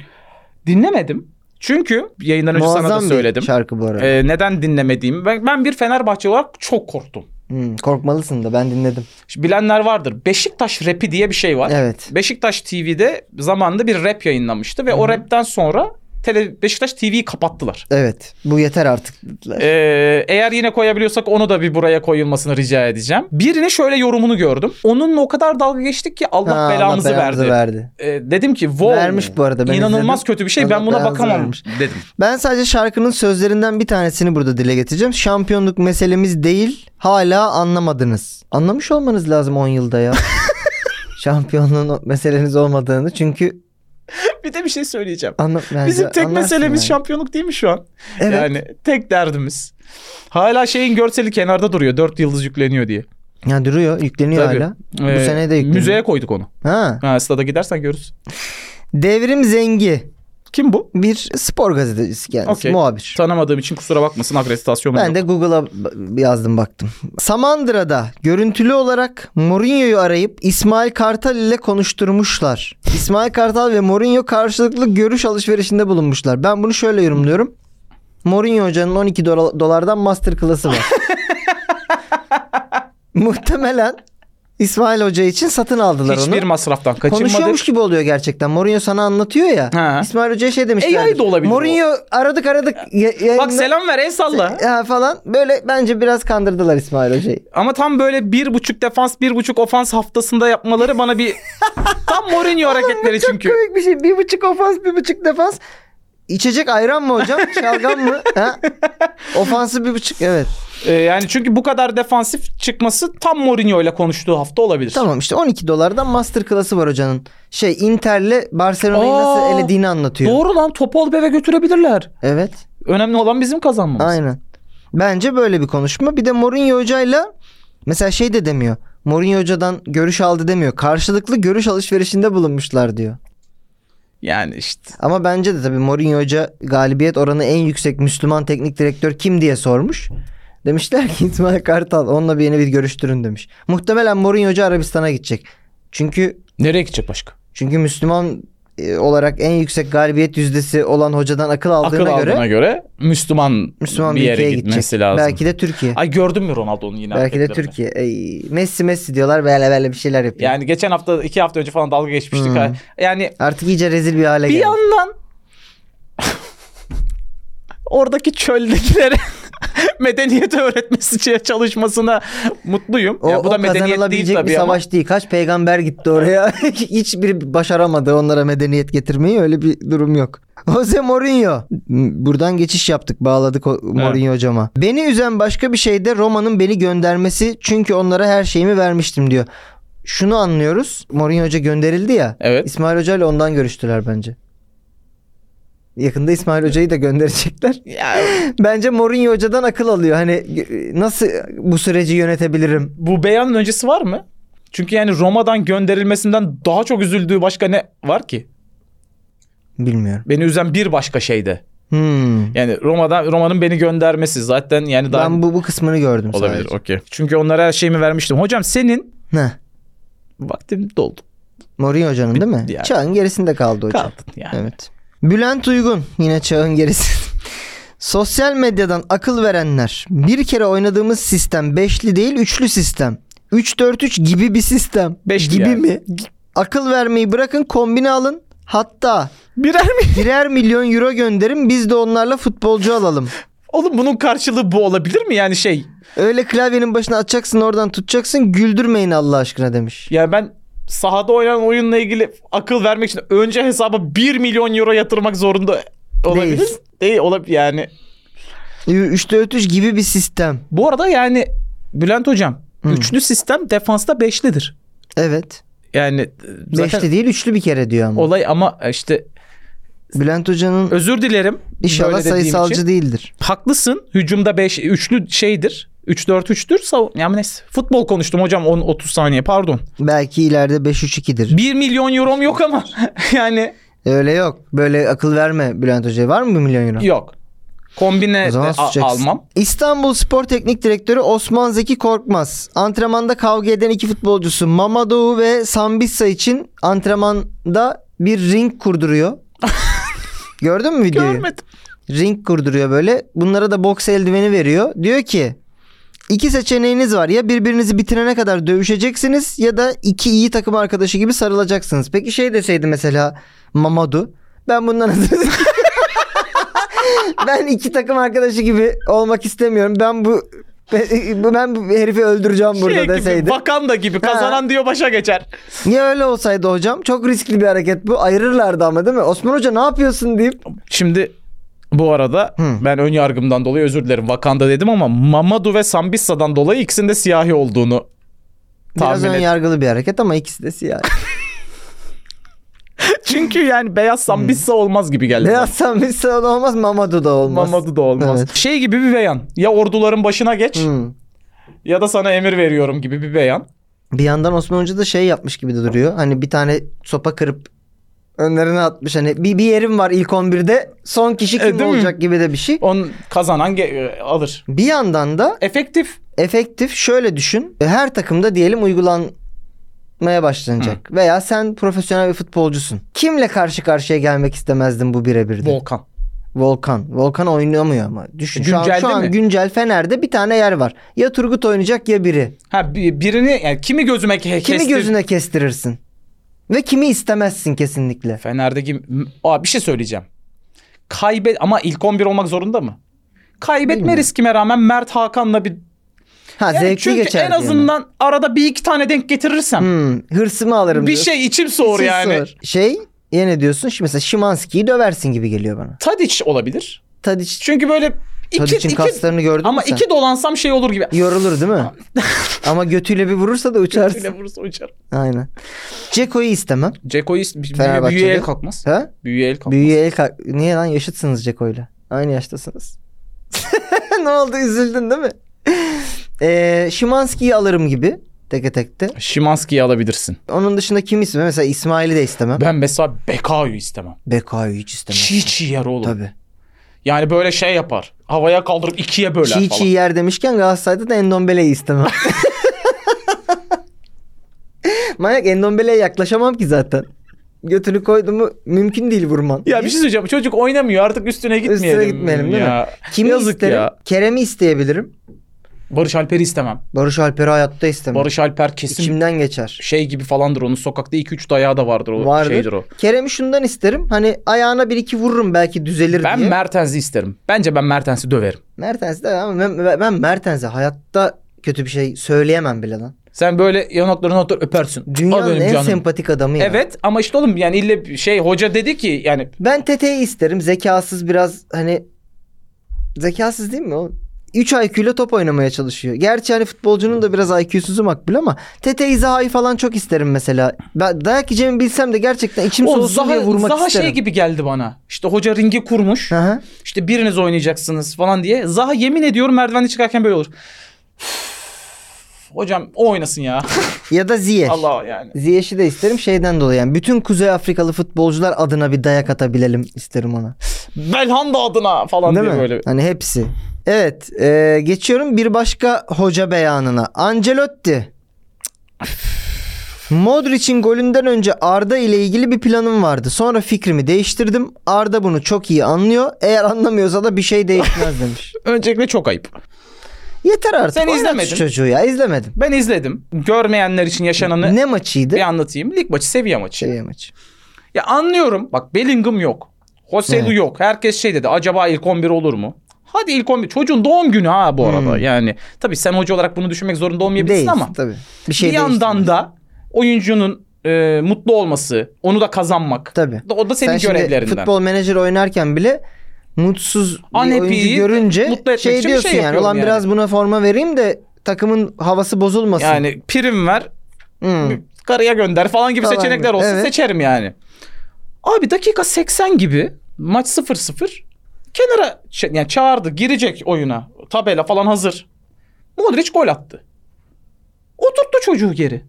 Dinlemedim. Çünkü yayından önce sana da Muazzam bir söyledim. şarkı bu arada. Ee, neden dinlemediğimi. Ben, ben bir Fenerbahçe olarak çok korktum. Hmm, korkmalısın da ben dinledim. Şimdi bilenler vardır. Beşiktaş rapi diye bir şey var. Evet. Beşiktaş TV'de zamanında bir rap yayınlamıştı ve o rapten sonra tele, Beşiktaş TV'yi kapattılar. Evet. Bu yeter artık dediler. Ee, eğer yine koyabiliyorsak onu da bir buraya koyulmasını rica edeceğim. Birine şöyle yorumunu gördüm. Onunla o kadar dalga geçtik ki Allah Ha, Allah belamızı verdi. belamızı Ee, dedim ki wow, Vermiş bu arada, ben inanılmaz izledim. kötü bir şey Allah ben buna belanızı bakamam vermiş. dedim. Ben sadece şarkının sözlerinden bir tanesini burada dile getireceğim. Şampiyonluk meselemiz değil. Hala anlamadınız. Anlamış olmanız lazım 10 yılda ya. Şampiyonluğun o- meseleniz olmadığını çünkü bir de bir şey söyleyeceğim. anla, yani Bizim tek anlarsın meselemiz yani. şampiyonluk değil mi şu an? Evet. Yani tek derdimiz. Hala şeyin görseli kenarda duruyor. Dört yıldız yükleniyor diye. Ya duruyor, yükleniyor Tabii. hala. Ee, Bu sene de yükleniyor. Müzeye koyduk onu. Ha. Ha, stada gidersen görürüz. Devrim Zengi Kim bu? bir spor gazetecisi kendisi, Okey. muhabir. Tanımadığım için kusura bakmasın akreditasyon Ben de Google'a b- yazdım baktım. Samandıra'da görüntülü olarak Mourinho'yu arayıp İsmail Kartal ile konuşturmuşlar. İsmail Kartal ve Mourinho karşılıklı görüş alışverişinde bulunmuşlar. Ben bunu şöyle yorumluyorum. Mourinho hocanın 12 dola- dolardan master klası var. Muhtemelen İsmail Hoca için satın aldılar onu. Hiçbir masraftan kaçınmadık. Konuşuyormuş gibi oluyor gerçekten. Mourinho sana anlatıyor ya. Ha. İsmail Hoca'ya şey demişler. AI da olabilir o. Mourinho aradık aradık. ya- yayında- Bak selam ver el salla. ya Ee, falan böyle bence biraz kandırdılar İsmail Hoca'yı. Ama tam böyle bir buçuk defans bir buçuk ofans haftasında yapmaları bana bir tam Mourinho hareketleri çünkü. Komik bir şey. Bir buçuk ofans, bir buçuk defans. İçecek ayran mı hocam? Şalgam mı? Ha? Ofansı bir buçuk. Evet. Ee, yani çünkü bu kadar defansif çıkması tam Mourinho ile konuştuğu hafta olabilir. Tamam işte 12 dolardan master klası var hocanın. Şey Inter'le Barcelona'yı nasıl Aa, elediğini anlatıyor. Doğru lan topu alıp eve götürebilirler. Evet. Önemli olan bizim kazanmamız. Aynen. Bence böyle bir konuşma. Bir de Mourinho hocayla mesela şey de demiyor. Mourinho hocadan görüş aldı demiyor. Karşılıklı görüş alışverişinde bulunmuşlar diyor. Yani işte Ama bence de tabii Mourinho Hoca galibiyet oranı en yüksek Müslüman teknik direktör kim diye sormuş. Demişler ki İsmail Kartal onunla bir yeni bir görüştürün demiş. Muhtemelen Mourinho Hoca Arabistan'a gidecek. Çünkü nereye gidecek başka? çünkü Müslüman e, olarak en yüksek galibiyet yüzdesi olan hocadan akıl aldığına Akıl göre aldığına göre Müslüman, Müslüman bir yere ülkeye gitmesi gidecek. lazım. Belki de Türkiye. Ay gördün mü Ronaldo'nun yine? Belki de hareketlerini? Türkiye. Ey, Messi Messi diyorlar böyle böyle bir şeyler yapıyor. Yani geçen hafta iki hafta önce falan dalga geçmiştik. Hmm. Ha- Yani Artık iyice rezil bir hale bir geldi. yandan oradaki çöldekilere medeniyet öğretmesi çalışmasına mutluyum. O, ya bu o da medeniyet değil kazanılabilecek tabii bir ama. savaş değil. Kaç peygamber gitti oraya. Hiçbiri başaramadı onlara medeniyet getirmeyi. Öyle bir durum yok. Jose Mourinho. M- Buradan geçiş yaptık. Bağladık o- Mourinho hocama. Beni üzen başka bir şey de Roma'nın beni göndermesi. Çünkü onlara her şeyimi vermiştim diyor. Şunu anlıyoruz. Mourinho hoca gönderildi ya. Evet. İsmail Hoca ile ondan görüştüler bence. Yakında İsmail Hoca'yı da gönderecekler. Ya, Bence Mourinho hocadan akıl alıyor. Hani e, nasıl bu süreci yönetebilirim? bu beyanın öncesi var mı? Çünkü yani Roma'dan gönderilmesinden daha çok üzüldüğü başka ne var ki? Bilmiyorum. Beni üzen bir başka şey de. Hmm. Yani Roma'dan Roma'nın beni göndermesi zaten yani daha Ben bu bu kısmını gördüm olabilir. sadece. Okey. Çünkü onlara her şeyimi vermiştim. Hocam senin Ne? vaktin doldu. Mourinho hocanın değil mi? Bitti yani. Çağın gerisinde kaldı hoca. Kaldın yani. Evet. Bülent Uygun yine çağın gerisi. Sosyal medyadan akıl verenler. Bir kere oynadığımız sistem beşli değil üçlü sistem. 3-4-3 gibi bir sistem. Beşli gibi yani. mi? Akıl vermeyi bırakın kombine alın. Hatta Birer mi? birer milyon euro gönderin biz de onlarla futbolcu alalım. Oğlum bunun karşılığı bu olabilir mi? Yani şey. Öyle klavyenin başına atacaksın oradan tutacaksın güldürmeyin Allah aşkına demiş. Yani ben sahada oynanan oyunla ilgili akıl vermek için önce hesaba 1 milyon euro yatırmak zorunda olabilir. Değil. Değil. olab yani. 3'te 3 gibi bir sistem. Bu arada yani Bülent hocam Hı. üçlü sistem defansta beşlidir. Evet. Yani e, zaten Beşli değil üçlü bir kere diyor ama. olay ama işte Bülent Hoca'nın özür dilerim. inşallah böyle dediğim sayısalcı için. değildir. Haklısın. Hücumda 5 üçlü şeydir. 3 4 3'tür. Savun yani neyse. Futbol konuştum hocam 10 30 saniye pardon. Belki ileride 5-3-2'dir. 1 milyon eurom yok ama yani E, Öyle yok. Böyle akıl verme Bülent Hoca'ya. Var mı bir milyon euro? yok. Kombine O de zaman a- susacaksın. almam. İstanbul Spor Teknik Direktörü Osman Zeki Korkmaz. Antrenmanda kavga eden iki futbolcusu Mamadou ve Sambissa için antrenmanda bir ring kurduruyor. Gördün mü videoyu? Görmedim. ring kurduruyor böyle. Bunlara da boks eldiveni veriyor. Diyor ki iki seçeneğiniz var ya birbirinizi bitirene kadar dövüşeceksiniz ya da iki iyi takım arkadaşı gibi sarılacaksınız. Peki şey deseydi mesela Mamadu ben bundan hazırım. ben iki takım arkadaşı gibi olmak istemiyorum. Ben bu ben bu herifi öldüreceğim burada şey deseydi. gibi Vakanda gibi Ha. kazanan diyor başa geçer. Niye öyle olsaydı hocam? Çok riskli bir hareket bu. Ayırırlardı ama değil mi? Osman Hoca ne yapıyorsun deyip. Şimdi bu arada Hı. ben ön yargımdan dolayı özür dilerim. Vakanda dedim ama Mamadu ve Sambissa'dan dolayı ikisinin de siyahi olduğunu Biraz tahmin ön ettim. yargılı bir hareket ama ikisi de siyah. Çünkü yani beyaz Sambissa olmaz gibi geldi. Beyaz Sambisa da olmaz, Mamadu da olmaz. Mamadu da olmaz. Evet. Şey gibi bir beyan. Ya orduların başına geç Hmm. ya da sana emir veriyorum gibi bir beyan. Bir yandan Osman Hoca da şey yapmış gibi de duruyor. Hani bir tane sopa kırıp önlerine atmış. Hani bir, bir yerim var ilk 11'de. Son kişi E, kim değil mi? olacak gibi de bir şey. On kazanan ge- e, alır. Bir yandan da Efektif. efektif şöyle düşün. E, Her takımda diyelim uygulanmaya başlanacak. Veya sen profesyonel bir futbolcusun. Kimle karşı karşıya gelmek istemezdin bu birebirde? Volkan. Volkan. Volkan oynamıyor ama. Düşün. Şu an, Güncelde şu an mi? güncel Fener'de bir tane yer var. Ya Turgut oynayacak ya biri. Ha bi- birini yani kimi gözüme ke- Kimi kestir- gözüne kestirirsin? Ve kimi istemezsin kesinlikle? Fener'deki M- Aa, bir şey söyleyeceğim. Kaybet ama ilk 11 olmak zorunda mı? Kaybetme Bilmiyorum. riskime rağmen Mert Hakan'la bir Ha yani zevkli çünkü geçer. en diye mi? azından arada bir iki tane denk getirirsem Hmm, hırsımı alırım bir diyorsun. şey içim soğur Siz yani. sor. Şey yine diyorsun şimdi mesela Şimanski'yi döversin gibi geliyor bana. Tadiç olabilir. Tadiç, Çünkü böyle iki, Tadiç'in iki kaslarını gördün ama mü sen? iki dolansam şey olur gibi. Yorulur değil mi? ama götüyle bir vurursa da uçarsın. Öyle vurursa uçar. Aynen. Ceko'yu istemem. Ceko'yu is- bir- bir- Fenerbahçe'de. büyüye el kalkmaz. Ha? Büyüye el kalkmaz. Büyüye el kalk. Niye lan yaşıtsınız Ceko'yla? Aynı yaştasınız. ne oldu üzüldün değil mi? Ee, Şimanski'yi alırım gibi. teke tekte. Şimanski'yi alabilirsin. Onun dışında kim ismi? Mesela İsmail'i de istemem. Ben mesela Bekao'yu istemem. Bekao'yu hiç istemem. Çiğ çiğ yer oğlum. Tabii. Yani böyle şey yapar. Havaya kaldırıp ikiye böler Çiğ falan. çiğ yer demişken Galatasaray'da da Endombele'yi istemem. Manyak Endombele'ye yaklaşamam ki zaten. Götünü koydu mu mümkün değil vurman. Ya bir şey söyleyeceğim. Çocuk oynamıyor artık üstüne gitmeyelim. Üstüne gitmeyelim değil ya. Kimi Yazık isterim? ya. Kerem'i isteyebilirim. Barış Alper'i istemem. Barış Alper'i hayatta istemem. Barış Alper kesin İçimden geçer. şey gibi falandır onun sokakta 2-3 dayağı da vardır o Vardır. şeydir o. Kerem'i şundan isterim. Hani ayağına bir iki vururum belki düzelir Ben diye. Mertens'i isterim. Bence ben Mertens'i döverim. Mertens de ama ben, ben Mertens'e hayatta kötü bir şey söyleyemem bile lan. Sen böyle yanaklarını otur öpersin. Al Dünyanın benim en canım. sempatik adamı ya. Evet ama işte oğlum yani ille bir şey hoca dedi ki yani Ben Tete'yi isterim. Zekasız biraz hani zekasız değil mi o? 3 IQ ile top oynamaya çalışıyor. Gerçi hani futbolcunun da biraz IQ'suzu makbul ama Tete Zaha'yı falan çok isterim mesela. Ben dayak yiyeceğimi bilsem de gerçekten içim o soğusun diye Zaha, vurmak Zaha isterim. şey gibi geldi bana. İşte hoca ringi kurmuş. Aha. İşte biriniz oynayacaksınız falan diye. Zaha yemin ediyorum merdivende çıkarken böyle olur. Hocam o oynasın ya. Ya da Ziyech. Allah yani. Ziyech'i de isterim şeyden dolayı yani bütün Kuzey Afrikalı futbolcular adına bir dayak atabilelim isterim ona. Belhanda adına falan Değil diye mi? böyle. Hani hepsi. Evet e, geçiyorum bir başka hoca beyanına. Ancelotti. Modric'in golünden önce Arda ile ilgili bir planım vardı. Sonra fikrimi değiştirdim. Arda bunu çok iyi anlıyor. Eğer anlamıyorsa da bir şey değişmez demiş. Öncelikle çok ayıp. Yeter artık. Sen Oynat şu izlemedin. çocuğu ya izlemedim. Ben izledim. Görmeyenler için yaşananı Ne maçıydı? bir anlatayım. Lig maçı, seviye maçı. Şey maçı. Ya anlıyorum. Bak Bellingham yok. Joselu Evet. yok. Herkes şey dedi. Acaba ilk 11 olur mu? Hadi ilk 11. Çocuğun doğum günü ha bu arada. Yani tabii sen hoca olarak bunu düşünmek zorunda olmayabilirsin Hmm. Değil ama. tabii. Bir şey bir yandan değiştirmez. da oyuncunun e, mutlu olması, onu da kazanmak. Tabii. O da senin Sen şimdi görevlerinden. futbol menajer oynarken bile mutsuz bir Unhappy'yi oyuncu görünce mutlu etmek şey için bir diyorsun şey yani yapıyorum ulan yani." biraz buna forma vereyim de takımın havası bozulmasın. Yani prim ver, Hmm. karıya gönder falan gibi Falan seçenekler gibi, olsun evet. seçerim yani. Abi dakika 80 gibi maç 0-0 kenara şey- yani çağırdı girecek oyuna tabela falan hazır. Modric gol attı. Oturttu çocuğu geri.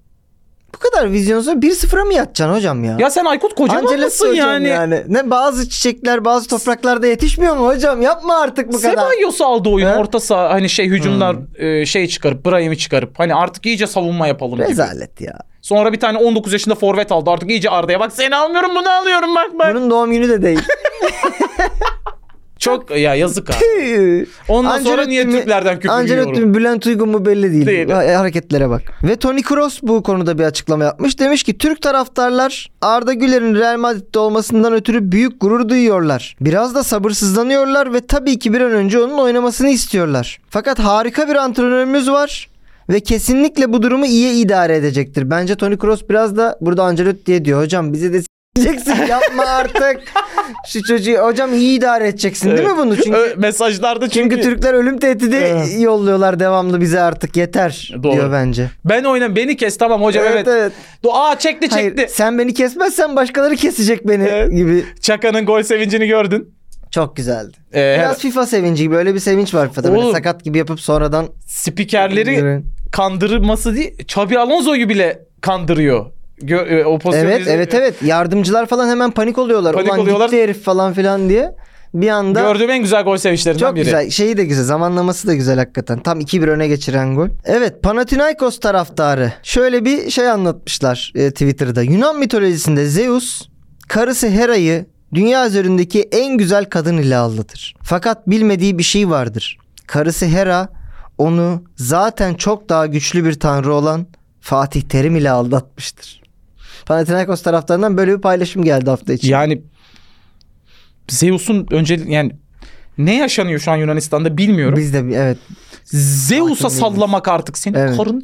Bu kadar vizyonsa 1-0'a mı yatacaksın hocam ya? Ya sen Aykut Kocaman Ancelotti mısın hocam yani? Ne bazı çiçekler bazı topraklarda yetişmiyor mu hocam? Yapma artık bu kadar. Sebayos aldı oyunu He? Hmm. orta saha hani şey hücumlar e, şey çıkarıp Brahim'i çıkarıp hani artık iyice savunma yapalım gibi. Rezalet ya. Sonra bir tane 19 yaşında forvet aldı artık iyice Arda'ya bak seni almıyorum bunu alıyorum bak bak. Bunun doğum günü de değil. Çok ya yazık ha. Ondan sonra Ancelotti niye mi- Türklerden küfür Ancelotti yiyorum? mi Bülent Uygun mu belli değil. Değil. Ha- e, Hareketlere bak. Ve Toni Kroos bu konuda bir açıklama yapmış. Demiş ki Türk taraftarlar Arda Güler'in Real Madrid'de olmasından ötürü büyük gurur duyuyorlar. Biraz da sabırsızlanıyorlar ve tabii ki bir an önce onun oynamasını istiyorlar. Fakat harika bir antrenörümüz var. Ve kesinlikle bu durumu iyi idare edecektir. Bence Toni Kroos biraz da burada Ancelotti'ye diyor. Hocam bizi de s**eceksin yapma artık. Şu çocuğu hocam iyi idare edeceksin değil mi bunu? Çünkü Ö- mesajlarda çünkü, çünkü Türkler ölüm tehdidi Evet. yolluyorlar devamlı bize artık yeter Doğru. diyor bence. ben oynam beni kes tamam hocam evet. Aa çekti Hayır, çekti. sen beni kesmezsen başkaları kesecek beni Evet. gibi. Çaka'nın gol sevincini gördün. Çok güzeldi. Ee, Biraz FIFA sevinci gibi öyle bir sevinç var FIFA'da. Böyle Oğlum. sakat gibi yapıp sonradan spikerleri kandırması değil. Xabi Alonso'yu bile kandırıyor. Gö- e, o pozisyonu Evet izle- evet evet. Yardımcılar falan hemen panik oluyorlar. Panik Ulan oluyorlar. gitti herif falan filan diye. Bir anda Gördüğüm en güzel gol sevinçlerinden Çok biri. güzel. Şeyi de güzel. Zamanlaması da güzel hakikaten. Tam 2-1 öne geçiren gol. Evet Panathinaikos taraftarı. Şöyle bir şey anlatmışlar e, Twitter'da. Yunan mitolojisinde Zeus karısı Hera'yı dünya üzerindeki en güzel kadın ile aldatır. Fakat bilmediği bir şey vardır. Karısı Hera onu zaten çok daha güçlü bir tanrı olan Fatih Terim ile aldatmıştır. Panathinaikos taraftarından böyle bir paylaşım geldi hafta içi. Yani Zeus'un önce yani ne yaşanıyor şu an Yunanistan'da bilmiyorum. Biz de bir- evet. Zeus'a Hakim değiliz. sallamak artık senin Evet. karın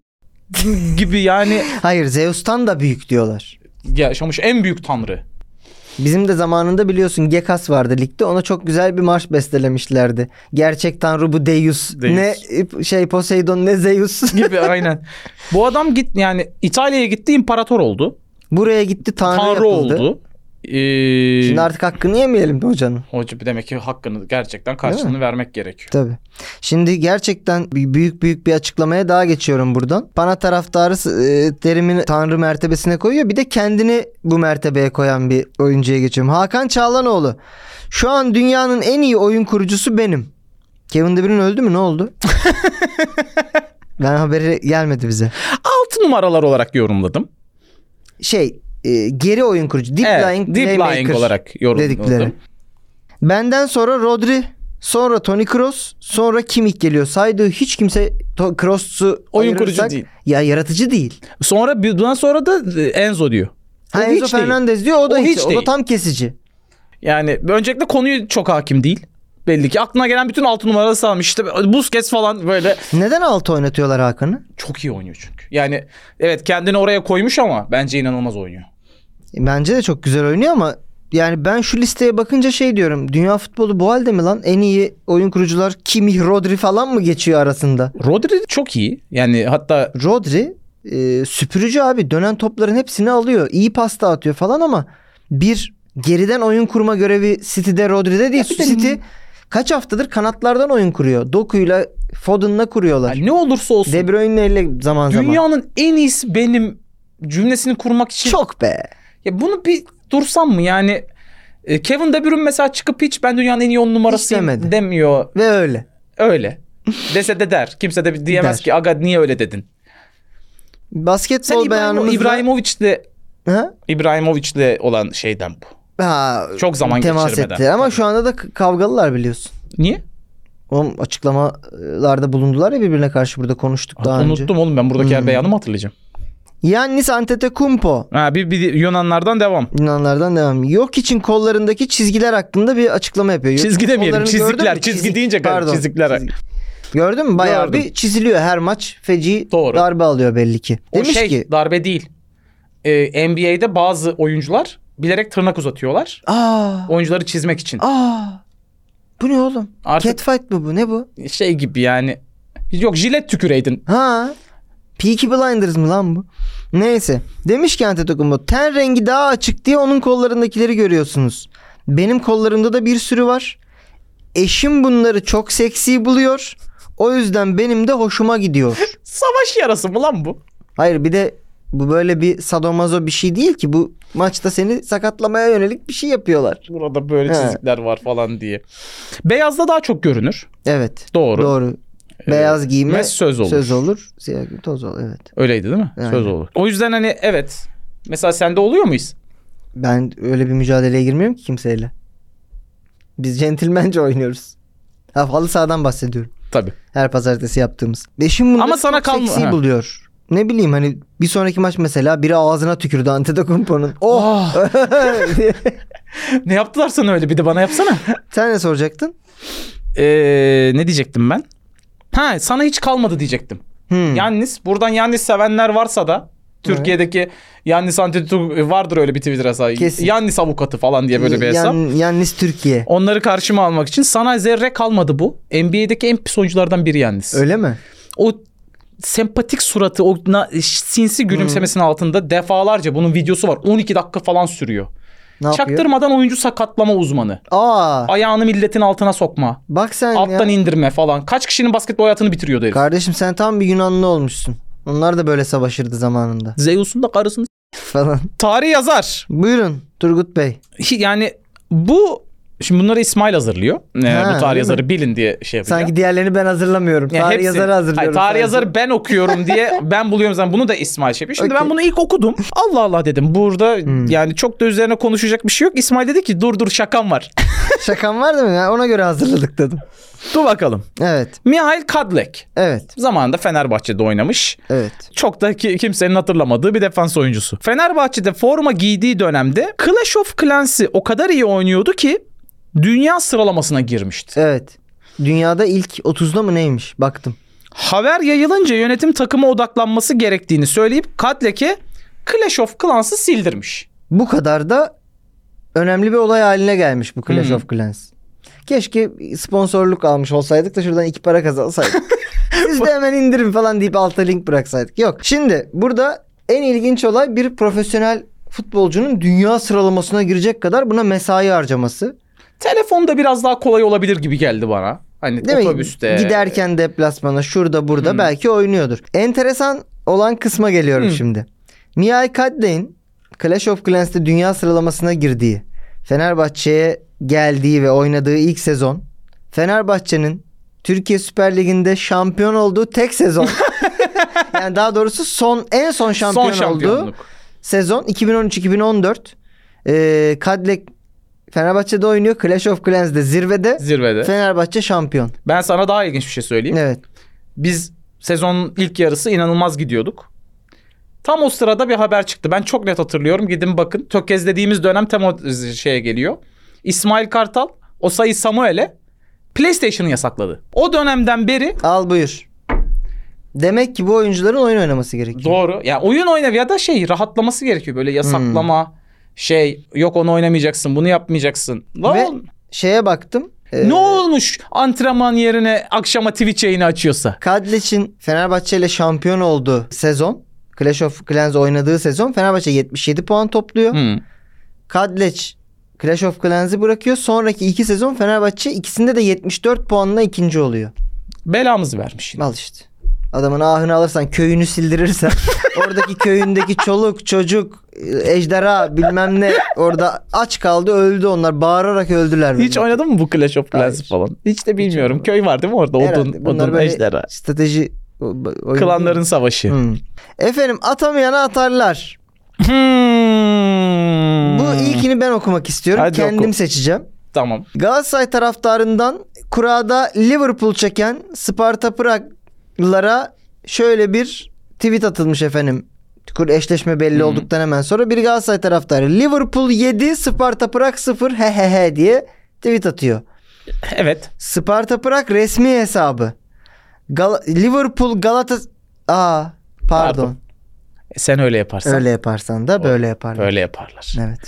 gibi yani Hayır Zeus'tan da büyük diyorlar. yaşamış en büyük tanrı. Bizim de zamanında biliyorsun Gekas vardı ligde. Ona çok güzel bir marş bestelemişlerdi. Gerçek tanrı bu Deus. Deus. Ne şey Poseidon ne Zeus. gibi aynen. Bu adam git yani İtalya'ya gitti imparator oldu. Buraya gitti tanrı, Tanrı yapıldı. oldu. Ee, Şimdi artık hakkını yemeyelim de hocanın. Hoca demek ki hakkını gerçekten karşılığını vermek gerekiyor. Tabii. Şimdi gerçekten bir- büyük büyük bir açıklamaya daha geçiyorum buradan. Bana taraftarı e, terimin tanrı mertebesine koyuyor. Bir de kendini bu mertebeye koyan bir oyuncuya geçiyorum. Hakan Çağlanoğlu. Şu an dünyanın en iyi oyun kurucusu benim. Kevin De Bruyne öldü mü? Ne oldu? ben haberi gelmedi bize. 6 numaralar olarak yorumladım. Şey, e, geri oyun kurucu. Deep Evet, lying deep lying playmaker. olarak yorumladım. dedikleri. Benden sonra Rodri, sonra Toni Kroos, sonra Kimmich geliyor. Saydığı hiç kimse To- Kroos'u Oyun ayırırsak- kurucu değil. Ya yaratıcı değil. Sonra bir- bundan sonra da e, Enzo diyor. Ha, O Enzo hiç değil. Fernandez diyor o da O hiç, hiç o da değil. tam kesici. Yani öncelikle konuyu çok hakim değil. Belli ki aklına gelen bütün 6 numaraları salmış. İşte Busquets falan böyle Neden altı oynatıyorlar Hakan'ı? çok iyi oynuyor çünkü. Yani evet kendini oraya koymuş ama bence inanılmaz oynuyor. E, Bence de çok güzel oynuyor ama yani ben şu listeye bakınca şey diyorum. Dünya futbolu bu halde mi lan? En iyi oyun kurucular Kimmich, Rodri falan mı geçiyor arasında? Rodri çok iyi. Yani hatta Rodri e, süpürücü abi dönen topların hepsini alıyor. İyi pasta atıyor falan ama bir geriden oyun kurma görevi City'de Rodri'de değil. Ya bir de- City kaç haftadır kanatlardan oyun kuruyor. Doku'yla Foden'la kuruyorlar. yani ne olursa olsun De Bruyne'yle zaman zaman. dünyanın en iyisi benim cümlesini kurmak için Çok be. Ya bunu bir dursam mı yani e, Kevin De Bruyne mesela çıkıp hiç ben dünyanın en iyi 10 demedi. numarasıyım demiyor. Ve öyle. Öyle. Dese de der. Kimse de diyemez Der. ki aga niye öyle dedin. Sen Basketbol İbrahimo- beyanımızda... İbrahimovic'le Ha? İbrahimovic'le olan şeyden bu. Ha, Çok zaman temas geçirmeden. ettiler ama Tabii. şu anda da k- kavgalılar biliyorsun. Niye? Oğlum açıklamalarda bulundular ya birbirine karşı burada konuştuk daha Unuttum önce. oğlum ben buradaki her Hmm. beyanı mı hatırlayacağım? Yannis Antetokounmpo Ha, bir, bir Yunanlardan devam. Yunanlardan devam. Yok için kollarındaki çizgiler hakkında bir açıklama yapıyor. Yok Çizgi için demeyelim, kollarını çizikler. gördün mü? Çizgi deyince garip, çizikler. Gördün mü? Bayağı Gördüm. bir çiziliyor her maç. Feci Doğru. darbe alıyor belli ki. O Demiş şey ki darbe değil. Ee, NBA'de bazı oyuncular bilerek tırnak uzatıyorlar. aa, Oyuncuları çizmek için. aa, bu ne oğlum? Artık Catfight mı bu? Ne bu? şey gibi yani. Yok jilet tüküreydin. Ha. Peaky Blinders mı lan bu? Neyse. Demiş ki Antetokounmpo ten rengi daha açık diye onun kollarındakileri görüyorsunuz. Benim kollarımda da bir sürü var. Eşim bunları çok seksi buluyor. O yüzden benim de hoşuma gidiyor. Savaş yarası mı lan bu? Hayır bir de bu böyle bir sadomazo bir şey değil ki. Bu maçta seni sakatlamaya yönelik bir şey yapıyorlar. Burada böyle He. çizikler var falan diye. Beyazda daha çok görünür. Evet. Doğru. Doğru. Ee, Beyaz giyme ve söz olur. Söz olur. Siyah giyme toz olur. Evet. Öyleydi değil mi? Aynen. Söz olur. O yüzden hani evet. Mesela sende oluyor muyuz? Ben öyle bir mücadeleye girmiyorum ki kimseyle. Biz centilmence oynuyoruz. Ha, halı sahadan bahsediyorum. Tabii. Her pazartesi yaptığımız. Eşim bunları Ama sana çok kalma- seksi Ha. buluyor. Ne bileyim hani bir sonraki maç mesela biri ağzına tükürdü Antetokounmpo'nun. Oh! Oh! ne yaptılar sana öyle? Bir de bana yapsana. Sen ne soracaktın? Ee, ne diyecektim ben? Ha sana hiç kalmadı diyecektim. Hmm. Yannis buradan Yannis sevenler varsa da Türkiye'deki Yannis Antetokounmpo e, vardır öyle bir Twitter hesabı. Kesin. Yannis avukatı falan diye böyle bir hesap. Yan- Yannis Türkiye. Onları karşıma almak için sana zerre kalmadı bu. NBA'deki en pis oyunculardan biri Yannis. Öyle mi? O sempatik suratı, o na- sinsi gülümsemesinin altında defalarca bunun videosu var. 12 dakika falan sürüyor. Ne yapıyor? Çaktırmadan oyuncu sakatlama uzmanı. Aa! Ayağını milletin altına sokma. Bak sen ya. Alttan indirme falan. Kaç kişinin basketbol hayatını bitiriyordu herif. Kardeşim sen tam bir Yunanlı olmuşsun. Onlar da böyle savaşırdı zamanında. Zeus'un da karısını. Falan. Tarih yazar. Buyurun Turgut Bey. Hi- Yani bu Şimdi bunları İsmail hazırlıyor. Ee, Ha, bu öyle mi? tarih yazarı bilin diye şey yapıyor. Sanki diğerlerini ben hazırlamıyorum. Yani tarih hepsi- yazarı hazırlıyorum. Hayır, tarih sadece. yazarı ben okuyorum diye ben buluyorum zaten. Bunu da İsmail şey yapıyor. Şimdi Okey. ben bunu ilk okudum. Allah Allah dedim. Burada Hmm. yani çok da üzerine konuşacak bir şey yok. İsmail dedi ki dur dur şakam var. Şakan var değil mi? Ya ona göre hazırladık dedim. dur bakalım. Evet. Mihail Kadlek. Evet. Zamanında Fenerbahçe'de oynamış. Evet. Çok da ki- kimsenin hatırlamadığı bir defans oyuncusu. Fenerbahçe'de forma giydiği dönemde Clash of Clans'i o kadar iyi oynuyordu ki dünya sıralamasına girmişti. Evet. Dünyada ilk 30'da mı neymiş? Baktım. Haber yayılınca yönetim takıma odaklanması gerektiğini söyleyip Kadlek'e Clash of Clans'ı sildirmiş. Bu kadar da önemli bir olay haline gelmiş bu Clash Hmm. of Clans. Keşke sponsorluk almış olsaydık da şuradan iki para kazansaydık. Siz de hemen indirin falan deyip alta link bıraksaydık. Yok. Şimdi burada en ilginç olay bir profesyonel futbolcunun dünya sıralamasına girecek kadar buna mesai harcaması. Telefonda biraz daha kolay olabilir gibi geldi bana. Hani Değil otobüste. mi? Giderken deplasmana şurada burada Hmm. belki oynuyordur. Enteresan olan kısma geliyorum Hmm. şimdi. Mihai Kadley'in Clash of Clans'te dünya sıralamasına girdiği, Fenerbahçe'ye geldiği ve oynadığı ilk sezon Fenerbahçe'nin Türkiye Süper Ligi'nde şampiyon olduğu tek sezon. yani daha doğrusu son en son şampiyon Son olduğu şampiyonluk. sezon 2013-2014. Ee, Kadlek Fenerbahçe'de oynuyor. Clash of Clans'de zirvede. Zirvede. Fenerbahçe şampiyon. Ben sana daha ilginç bir şey söyleyeyim. Evet. Biz sezonun ilk yarısı inanılmaz gidiyorduk. Tam o sırada bir haber çıktı. Ben çok net hatırlıyorum. Gidin bakın. Tökezlediğimiz dönem tam o şeye geliyor. İsmail Kartal Osayi Samuel'e PlayStation'ı yasakladı. O dönemden beri Al buyur. Demek ki bu oyuncuların oyun oynaması gerekiyor. Doğru. Yani oyun oynav ya da şey rahatlaması gerekiyor. Böyle yasaklama Hmm. şey yok onu oynamayacaksın bunu yapmayacaksın. Ne, Ve- ol- Şeye baktım. Ee, ne olmuş antrenman yerine akşama Twitch yayını açıyorsa? Kadleç'in Fenerbahçe ile şampiyon olduğu sezon. Clash of Clans oynadığı sezon Fenerbahçe 77 puan topluyor. Hmm. Kadleç Clash of Clans'ı bırakıyor. Sonraki iki sezon Fenerbahçe ikisinde de 74 puanla ikinci oluyor. Belamızı vermiş yine. Al işte. Adamın ahını alırsan köyünü sildirirsen oradaki köyündeki çoluk çocuk ejderha bilmem ne orada aç kaldı öldü onlar bağırarak öldüler. Hiç bunlar. oynadın mı bu Clash of Clans Hayır. falan? Hiç de bilmiyorum. oynamadım. Köy var değil mi orada? Herhalde Odun, bunlar odun böyle ejderha. Strateji o- oyunu Klanların savaşı. değil mi? Hmm. Efendim atamayana atarlar. Hmm. Bu ilkini ben okumak istiyorum. Hadi Kendim oku. seçeceğim. Tamam. Galatasaray taraftarından kurada Liverpool çeken Sparta Prag'lara şöyle bir tweet atılmış efendim. Kur eşleşme belli Hı. olduktan hemen sonra bir Galatasaray taraftarı Liverpool 7 Sparta Prag 0 he he he diye tweet atıyor. Evet. Sparta Prag resmi hesabı. Gal- Liverpool Galatasaray Aa pardon. Pardon. Sen öyle yaparsan. Öyle yaparsan da böyle yaparlar. Öyle yaparlar. Evet.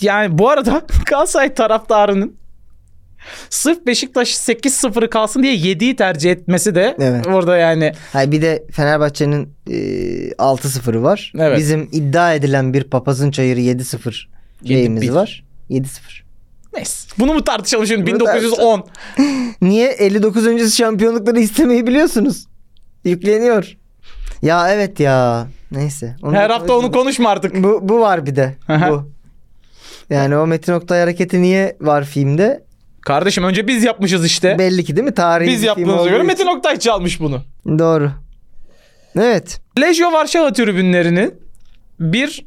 Yani bu arada Galatasaray taraftarının sırf Beşiktaş 8-0'ı kalsın diye 7'yi tercih etmesi de Evet. orada yani Hayır bir de Fenerbahçe'nin e, 6-0'ı var. Evet. Bizim iddia edilen bir papazın çayırı 7-0 bir. şeyimiz var. 7-0. neyse. Bunu mu tartışalım şimdi Bunu 1910. Niye 59. öncesi şampiyonlukları istemeyi biliyorsunuz? Yükleniyor. Ya evet ya. Neyse. Onu Her hafta onu konuşma artık. Bu, bu var bir de. Aha. bu. Yani o Metin Oktay hareketi niye var filmde? Kardeşim önce biz yapmışız işte. Belli ki değil mi? Tarihi E? biz bir film yaptığımıza göre olduğu Metin Oktay çalmış bunu. için. Doğru. Evet. Lejyo Varşova tribünlerinin bir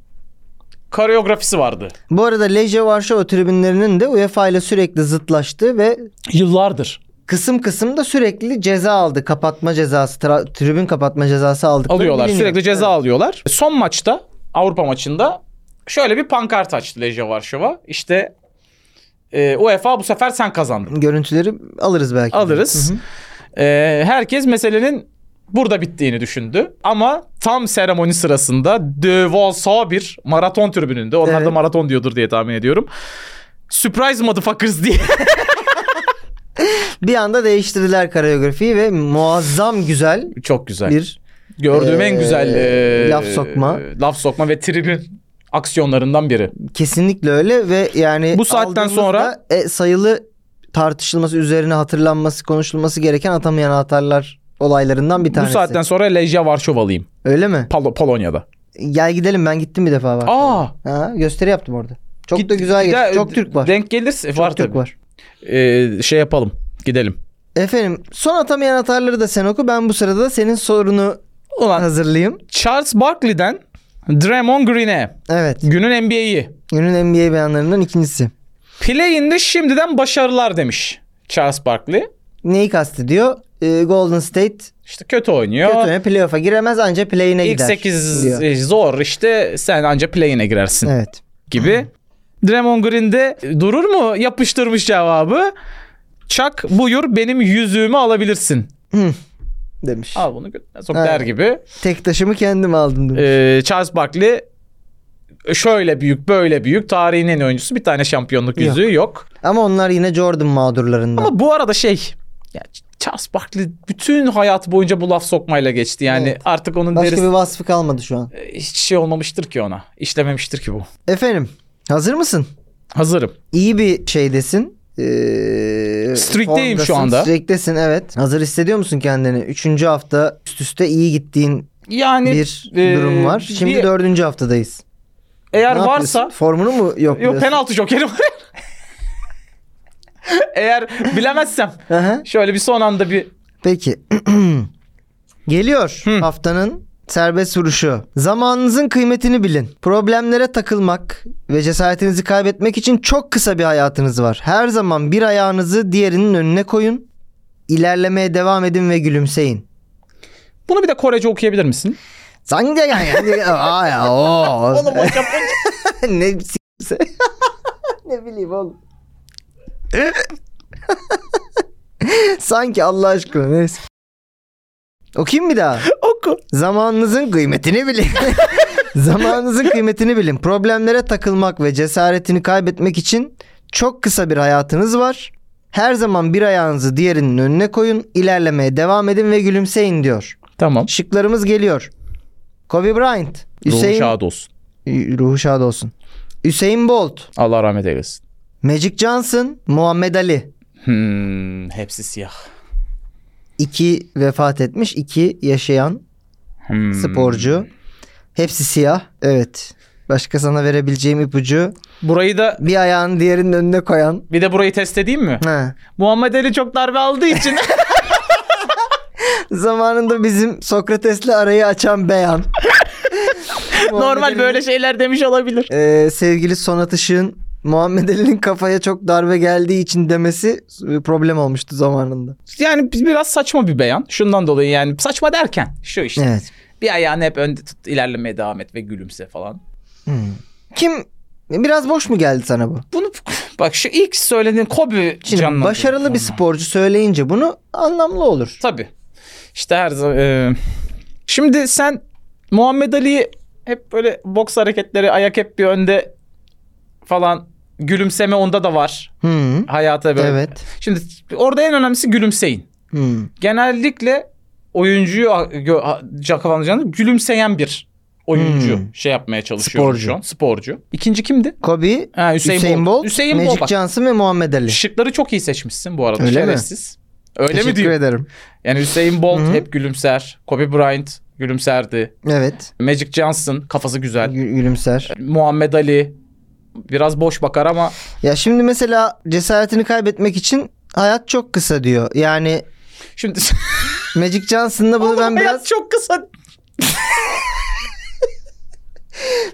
koreografisi vardı. Bu arada Lejje Varşova tribünlerinin de UEFA ile sürekli zıtlaştığı ve Yıllardır. kısım kısım da sürekli ceza aldı. Kapatma cezası, tra- tribün kapatma cezası aldık. Alıyorlar sürekli ceza alıyorlar. Son maçta Avrupa maçında şöyle bir pankart açtı Lejyo Varşova. İşte e, UEFA bu sefer sen kazandın. Görüntüleri alırız belki. de. alırız. Ee, herkes meselenin burada bittiğini düşündü. Ama tam seremoni sırasında devasa bir maraton tribününde. Onlar da Evet. maraton diyordur diye tahmin ediyorum. Surprise motherfuckers diye. Bir anda değiştirdiler koreografiyi ve muazzam güzel Çok güzel. bir Gördüğüm en Ee, güzel ee, laf sokma. Laf sokma ve tribün aksiyonlarından biri. kesinlikle öyle ve yani Bu saatten aldığımızda, sonra- e, sayılı tartışılması üzerine hatırlanması konuşulması gereken atamayan atarlar olaylarından bir tanesi. Bu saatten sonra Lejia Varşovalıyım. öyle mi? Pol- Polonya'da. Gel gidelim ben gittim bir defa var. Aa! Ha, gösteri yaptım orada. Çok git- da güzel bir geçti. daha Çok Türk var. Denk gelirse Çok var Türk tabii. var. Ee, şey yapalım. Gidelim. Efendim son atamayan atarları da sen oku. Ben bu sırada da senin sorunu Ulan hazırlayayım. Charles Barkley'den Draymond Green'e Evet. günün NBA'yi Günün NBA beyanlarından ikincisi. Play'inde şimdiden başarılar demiş Charles Barkley. Neyi kastediyor? Ee, Golden State İşte kötü oynuyor. kötü oynuyor. Playoff'a giremez ancak play'ine İlk gider. 8 diyor. zor işte sen anca play'ine girersin Evet. gibi. Draymond Green de durur mu yapıştırmış cevabı. Çak buyur benim yüzüğümü alabilirsin. Demiş. Al bunu götüne sok Evet. der gibi. Tek taşımı kendim aldım demiş. Ee, Charles Barkley şöyle büyük böyle büyük tarihin en oyuncusu bir tane şampiyonluk yüzüğü yok. Ama onlar yine Jordan mağdurlarından. Ama bu arada şey Ya Charles Barkley bütün hayatı boyunca bu laf sokmayla geçti. Yani Evet. artık onun Başka derisi bir vasfı kalmadı şu an. e, hiç şey olmamıştır ki ona. İşlememiştir ki bu. Efendim hazır mısın? Hazırım. İyi bir şeydesin. Ee, Streak'teyim şu formdasın, anda. Streak'tesin evet. Hazır hissediyor musun kendini? Üçüncü hafta üst üste iyi gittiğin Yani bir e, durum var. Şimdi bir- dördüncü haftadayız. eğer Ne yapıyorsun? varsa Formunu mu yok Yok penaltı jokeri var. Eğer bilemezsem şöyle bir son anda bir Peki. Geliyor Hı. haftanın serbest vuruşu. Zamanınızın kıymetini bilin. Problemlere takılmak ve cesaretinizi kaybetmek için çok kısa bir hayatınız var. Her zaman bir ayağınızı diğerinin önüne koyun. İlerlemeye devam edin ve gülümseyin. bunu bir de Korece okuyabilir misin? Zangi yani. Aa ya, oo. ne s- ne bileyim oğlum. Sanki Allah aşkına neyse. Okuyayım bir daha. Oku. Zamanınızın kıymetini bilin. Zamanınızın kıymetini bilin. Problemlere takılmak ve cesaretini kaybetmek için çok kısa bir hayatınız var. Her zaman bir ayağınızı diğerinin önüne koyun, ilerlemeye devam edin ve gülümseyin diyor. Tamam. Şıklarımız geliyor. Kobe Bryant, Ruhu Hüseyin şad olsun. ruhu şad olsun. Hüseyin Bolt, Allah rahmet eylesin. Magic Johnson, Muhammed Ali. Hmm, hepsi siyah. İki vefat etmiş, iki yaşayan Hmm. sporcu. Hepsi siyah. Evet. Başka sana verebileceğim ipucu. Burayı da Bir ayağını diğerinin önüne koyan. bir de burayı test edeyim mi? Ha. Muhammed Ali çok darbe aldığı için Zamanında bizim Sokrates'le arayı açan beyan. normal Muhammed böyle şeyler demiş olabilir. Ali'nin, e, sevgili Sonat Işık'ın Muhammed Ali'nin kafaya çok darbe geldiği için demesi e, problem olmuştu zamanında. Yani bi- biraz saçma bir beyan. Şundan dolayı yani saçma derken şu işte. Evet. Bir ayağını hep önde tut, ilerlemeye devam et ve gülümse falan. Hmm. Kim biraz boş mu geldi sana bu? Bunu bak şu ilk söylediğin Kobe Şimdi canlandırdı. başarılı bir Tamam. sporcu söyleyince bunu anlamlı olur. Tabii. İşte her zaman. e, şimdi sen Muhammed Ali'yi hep böyle boks hareketleri ayak hep bir önde falan gülümseme onda da var. Hı. Hayata böyle. Evet. Şimdi orada en önemlisi gülümseyin. Hı. Genellikle oyuncuyu a- gö- a- Jacques Van Dijk'ın gülümseyen bir oyuncu Hmm. şey yapmaya çalışıyor Sporcu. şu an. Sporcu. İkinci kimdi? Kobe, Ha, Hüseyin, Hüseyin, Bolt, Hüseyin Magic Bolt. Bak, Johnson ve Muhammed Ali. Şıkları çok iyi seçmişsin bu arada. Öyle mi? şerefsiz. Öyle mi Teşekkür diyeyim? ederim. Yani Hüseyin Bolt Hı. hep gülümser. Kobe Bryant gülümserdi. Evet. Magic Johnson kafası güzel. gü- Gülümser. Muhammed Ali biraz boş bakar ama Ya şimdi mesela cesaretini kaybetmek için hayat çok kısa diyor. Yani şimdi Magic Johnson'la bunu ben hayat biraz çok kısa.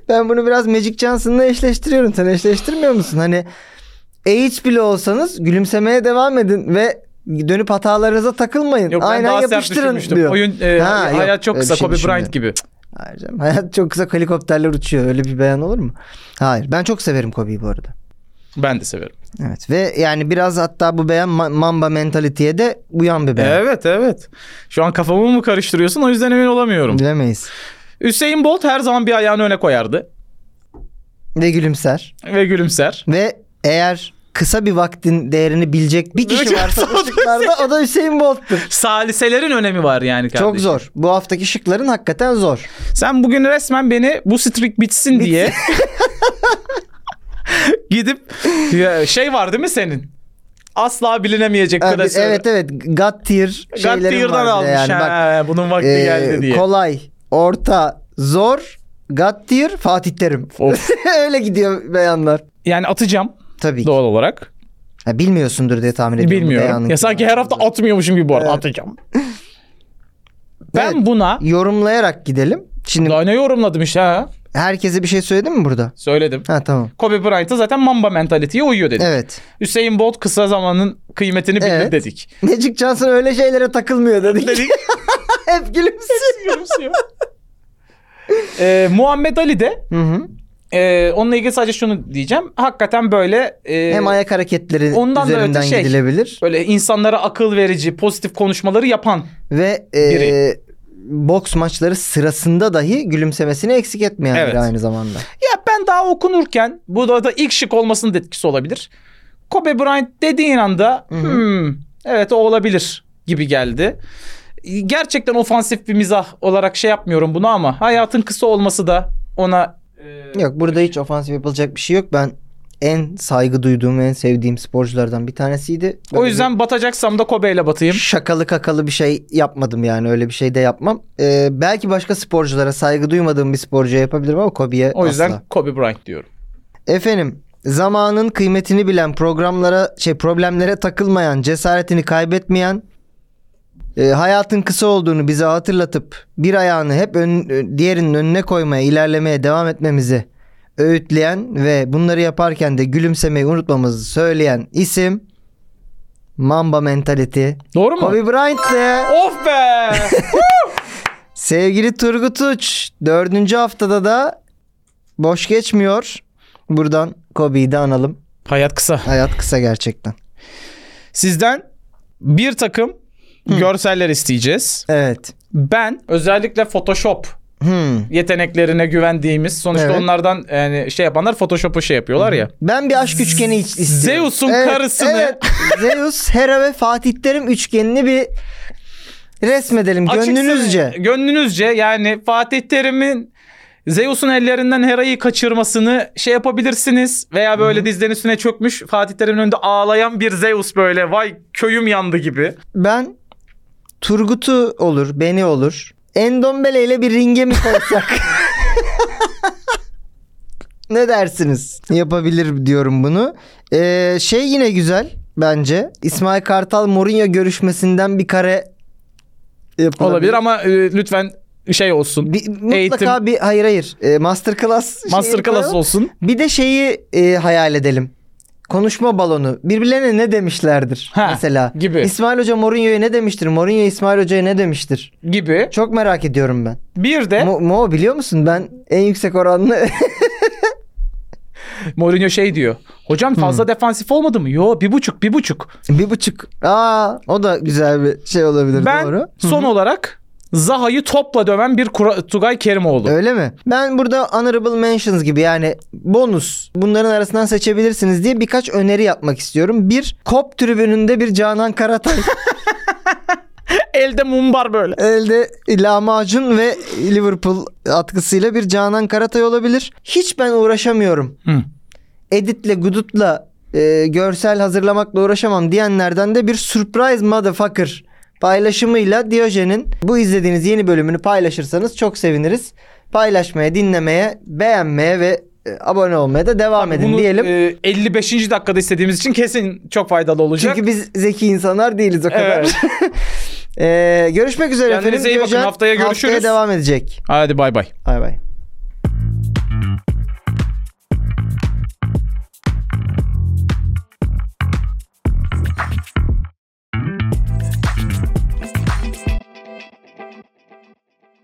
ben bunu biraz Magic Johnson'la eşleştiriyorum. Sen eşleştirmiyor musun? Hani age bile olsanız gülümsemeye devam edin ve dönüp hatalarınıza takılmayın. Yok ben Aynen daha sert yapıştırın düşünmüştüm. diyor. Oyun e, Ha, yok, hayat çok öyle bir kısa şey Kobe düşünmüyorum. Bryant gibi. Hayır canım, Hayat çok kısa helikopterler uçuyor. Öyle bir beyan olur mu? Hayır. Ben çok severim Kobe'yi bu arada. Ben de severim. Evet ve yani biraz hatta bu beyan ma- Mamba mentaliteye de uyan bir beyan. Evet evet. Şu an kafamı mı karıştırıyorsun o yüzden emin olamıyorum. Bilemeyiz. Hüseyin Bolt her zaman bir ayağını öne koyardı Ve gülümser. ve gülümser. Ve eğer kısa bir vaktin değerini bilecek bir kişi Hocam, varsa o da bu şıklarda o da Hüseyin Bolt'tur. Saliselerin önemi var yani kardeşim. Çok zor. Bu haftaki şıkların hakikaten zor. Sen bugün resmen beni bu streak bitsin diye gidip ya şey var değil mi senin? Asla bilinemeyecek şey Ha, bir- klasör. Ee, evet evet. God tier God şeylerim tier'dan var bir almış de yani. Bak, ha, bunun vakti e, geldi diye. Kolay, orta, zor, God tier, Fatih Terim. Of. Öyle gidiyor beyanlar. yani atacağım Tabii ki. doğal olarak. Ha, bilmiyorsundur diye tahmin ediyorum. bu beyanın Bilmiyorum. Ya sanki her hafta atmıyormuşum gibi bu arada Evet. atacağım. Ben Evet. buna yorumlayarak gidelim. Şimdi daha ne yorumladım işte ha. herkese bir şey söyledim mi burada? Söyledim. Ha tamam. Kobe Bryant'a zaten Mamba mentaliteye uyuyor dedik. Evet. Hüseyin Bolt kısa zamanın kıymetini bilir Evet. dedik. Magic Johnson öyle şeylere takılmıyor dedik. Dedik. Hep gülümsüyor. Gülümsüyor. Ee, Muhammed Ali de Hı hı. e, onunla ilgili sadece şunu diyeceğim. Hakikaten böyle e, Hem ayak hareketleri ondan da üzerinden öte şey. gidilebilir. böyle insanlara akıl verici, pozitif konuşmaları yapan Ve e, Biri. boks maçları sırasında dahi gülümsemesini eksik etmeyen biri Evet. aynı zamanda. Ya ben daha okunurken bu da, da ilk şık olmasının da etkisi olabilir. Kobe Bryant dediğin anda Hı hı. "Hmm, Evet o olabilir gibi geldi. Gerçekten ofansif bir mizah olarak şey yapmıyorum bunu ama hayatın kısa olması da ona Yok burada hiç ofansif yapılacak bir şey yok. Ben en saygı duyduğum, en sevdiğim sporculardan bir tanesiydi. o Böyle yüzden batacaksam da Kobe'yle bir batayım. şakalı kakalı bir şey yapmadım yani öyle bir şey de yapmam. Ee, belki başka sporculara saygı duymadığım bir sporcuya yapabilirim ama Kobe'ye O yüzden asla. Kobe Bryant diyorum. Efendim zamanın kıymetini bilen programlara şey problemlere takılmayan cesaretini kaybetmeyen e, hayatın kısa olduğunu bize hatırlatıp bir ayağını hep ön, ö- diğerinin önüne koymaya ilerlemeye devam etmemizi öğütleyen ve bunları yaparken de gülümsemeyi unutmamızı söyleyen isim Mamba Mentality. Doğru mu? Kobe Bryant'le Of be! Sevgili Turgut Uç dördüncü haftada da boş geçmiyor. Buradan Kobe'yi de analım. Hayat kısa. Hayat kısa gerçekten. Sizden bir takım görseller isteyeceğiz. Evet. Ben özellikle Photoshop Hmm. yeteneklerine güvendiğimiz sonuçta Evet. onlardan yani şey yapanlar Photoshop'u şey yapıyorlar ya. Ben bir aşk üçgeni iç- istiyorum. Zeus'un karısını- Evet. Zeus, Hera ve Fatih Terim üçgenini bir resmedelim gönlünüzce. Açıkçası, gönlünüzce yani Fatih Terim'in Zeus'un ellerinden Hera'yı kaçırmasını şey yapabilirsiniz veya böyle dizlerinin üstüne çökmüş Fatih Terim'in önünde ağlayan bir Zeus böyle vay köyüm yandı gibi. Ben Turgut'u olur, beni olur. Endombele ile bir ringe mi koysak? ne dersiniz? Yapabilir diyorum bunu. Ee, şey yine güzel bence. İsmail Kartal Mourinho görüşmesinden bir kare yapılabilir. Olabilir ama e, lütfen şey olsun. Bir- mutlaka bir hayır hayır. Ee, masterclass. şeyini Masterclass koyalım. olsun. Bir de şeyi e, hayal edelim. Konuşma balonu. Birbirlerine ne demişlerdir Ha, mesela? gibi. İsmail Hoca Mourinho'ya ne demiştir? Mourinho İsmail Hoca'ya ne demiştir? gibi. Çok merak ediyorum ben. Bir de Mo, Mo biliyor musun? Ben en yüksek oranlı Mourinho şey diyor. Hmm. Hocam fazla defansif olmadı mı? Yo bir buçuk bir buçuk. bir buçuk. Aa, o da güzel bir şey olabilir Ben doğru. son olarak Zaha'yı topla döven bir Kura- Tugay Kerimoğlu. Öyle mi? Ben burada honorable mentions gibi yani bonus bunların arasından seçebilirsiniz diye birkaç öneri yapmak istiyorum. Bir, kop tribününde bir Canan Karatay Elde mumbar böyle. Elde lahmacun ve Liverpool atkısıyla bir Canan Karatay olabilir. Hiç ben uğraşamıyorum. Hı. Editle gudutla e, görsel hazırlamakla uğraşamam diyenlerden de bir surprise motherfucker paylaşımıyla Diyojen'in bu izlediğiniz yeni bölümünü paylaşırsanız çok seviniriz. Paylaşmaya, dinlemeye, beğenmeye ve e, abone olmaya da devam edin Bunu diyelim. e, 55. dakikada istediğimiz için kesin çok faydalı olacak. Çünkü biz zeki insanlar değiliz o kadar. Ee, görüşmek üzere Kendinize iyi bakın. Diyojen Haftaya görüşürüz. Haftaya devam edecek. Hadi bay bay. Bay bay.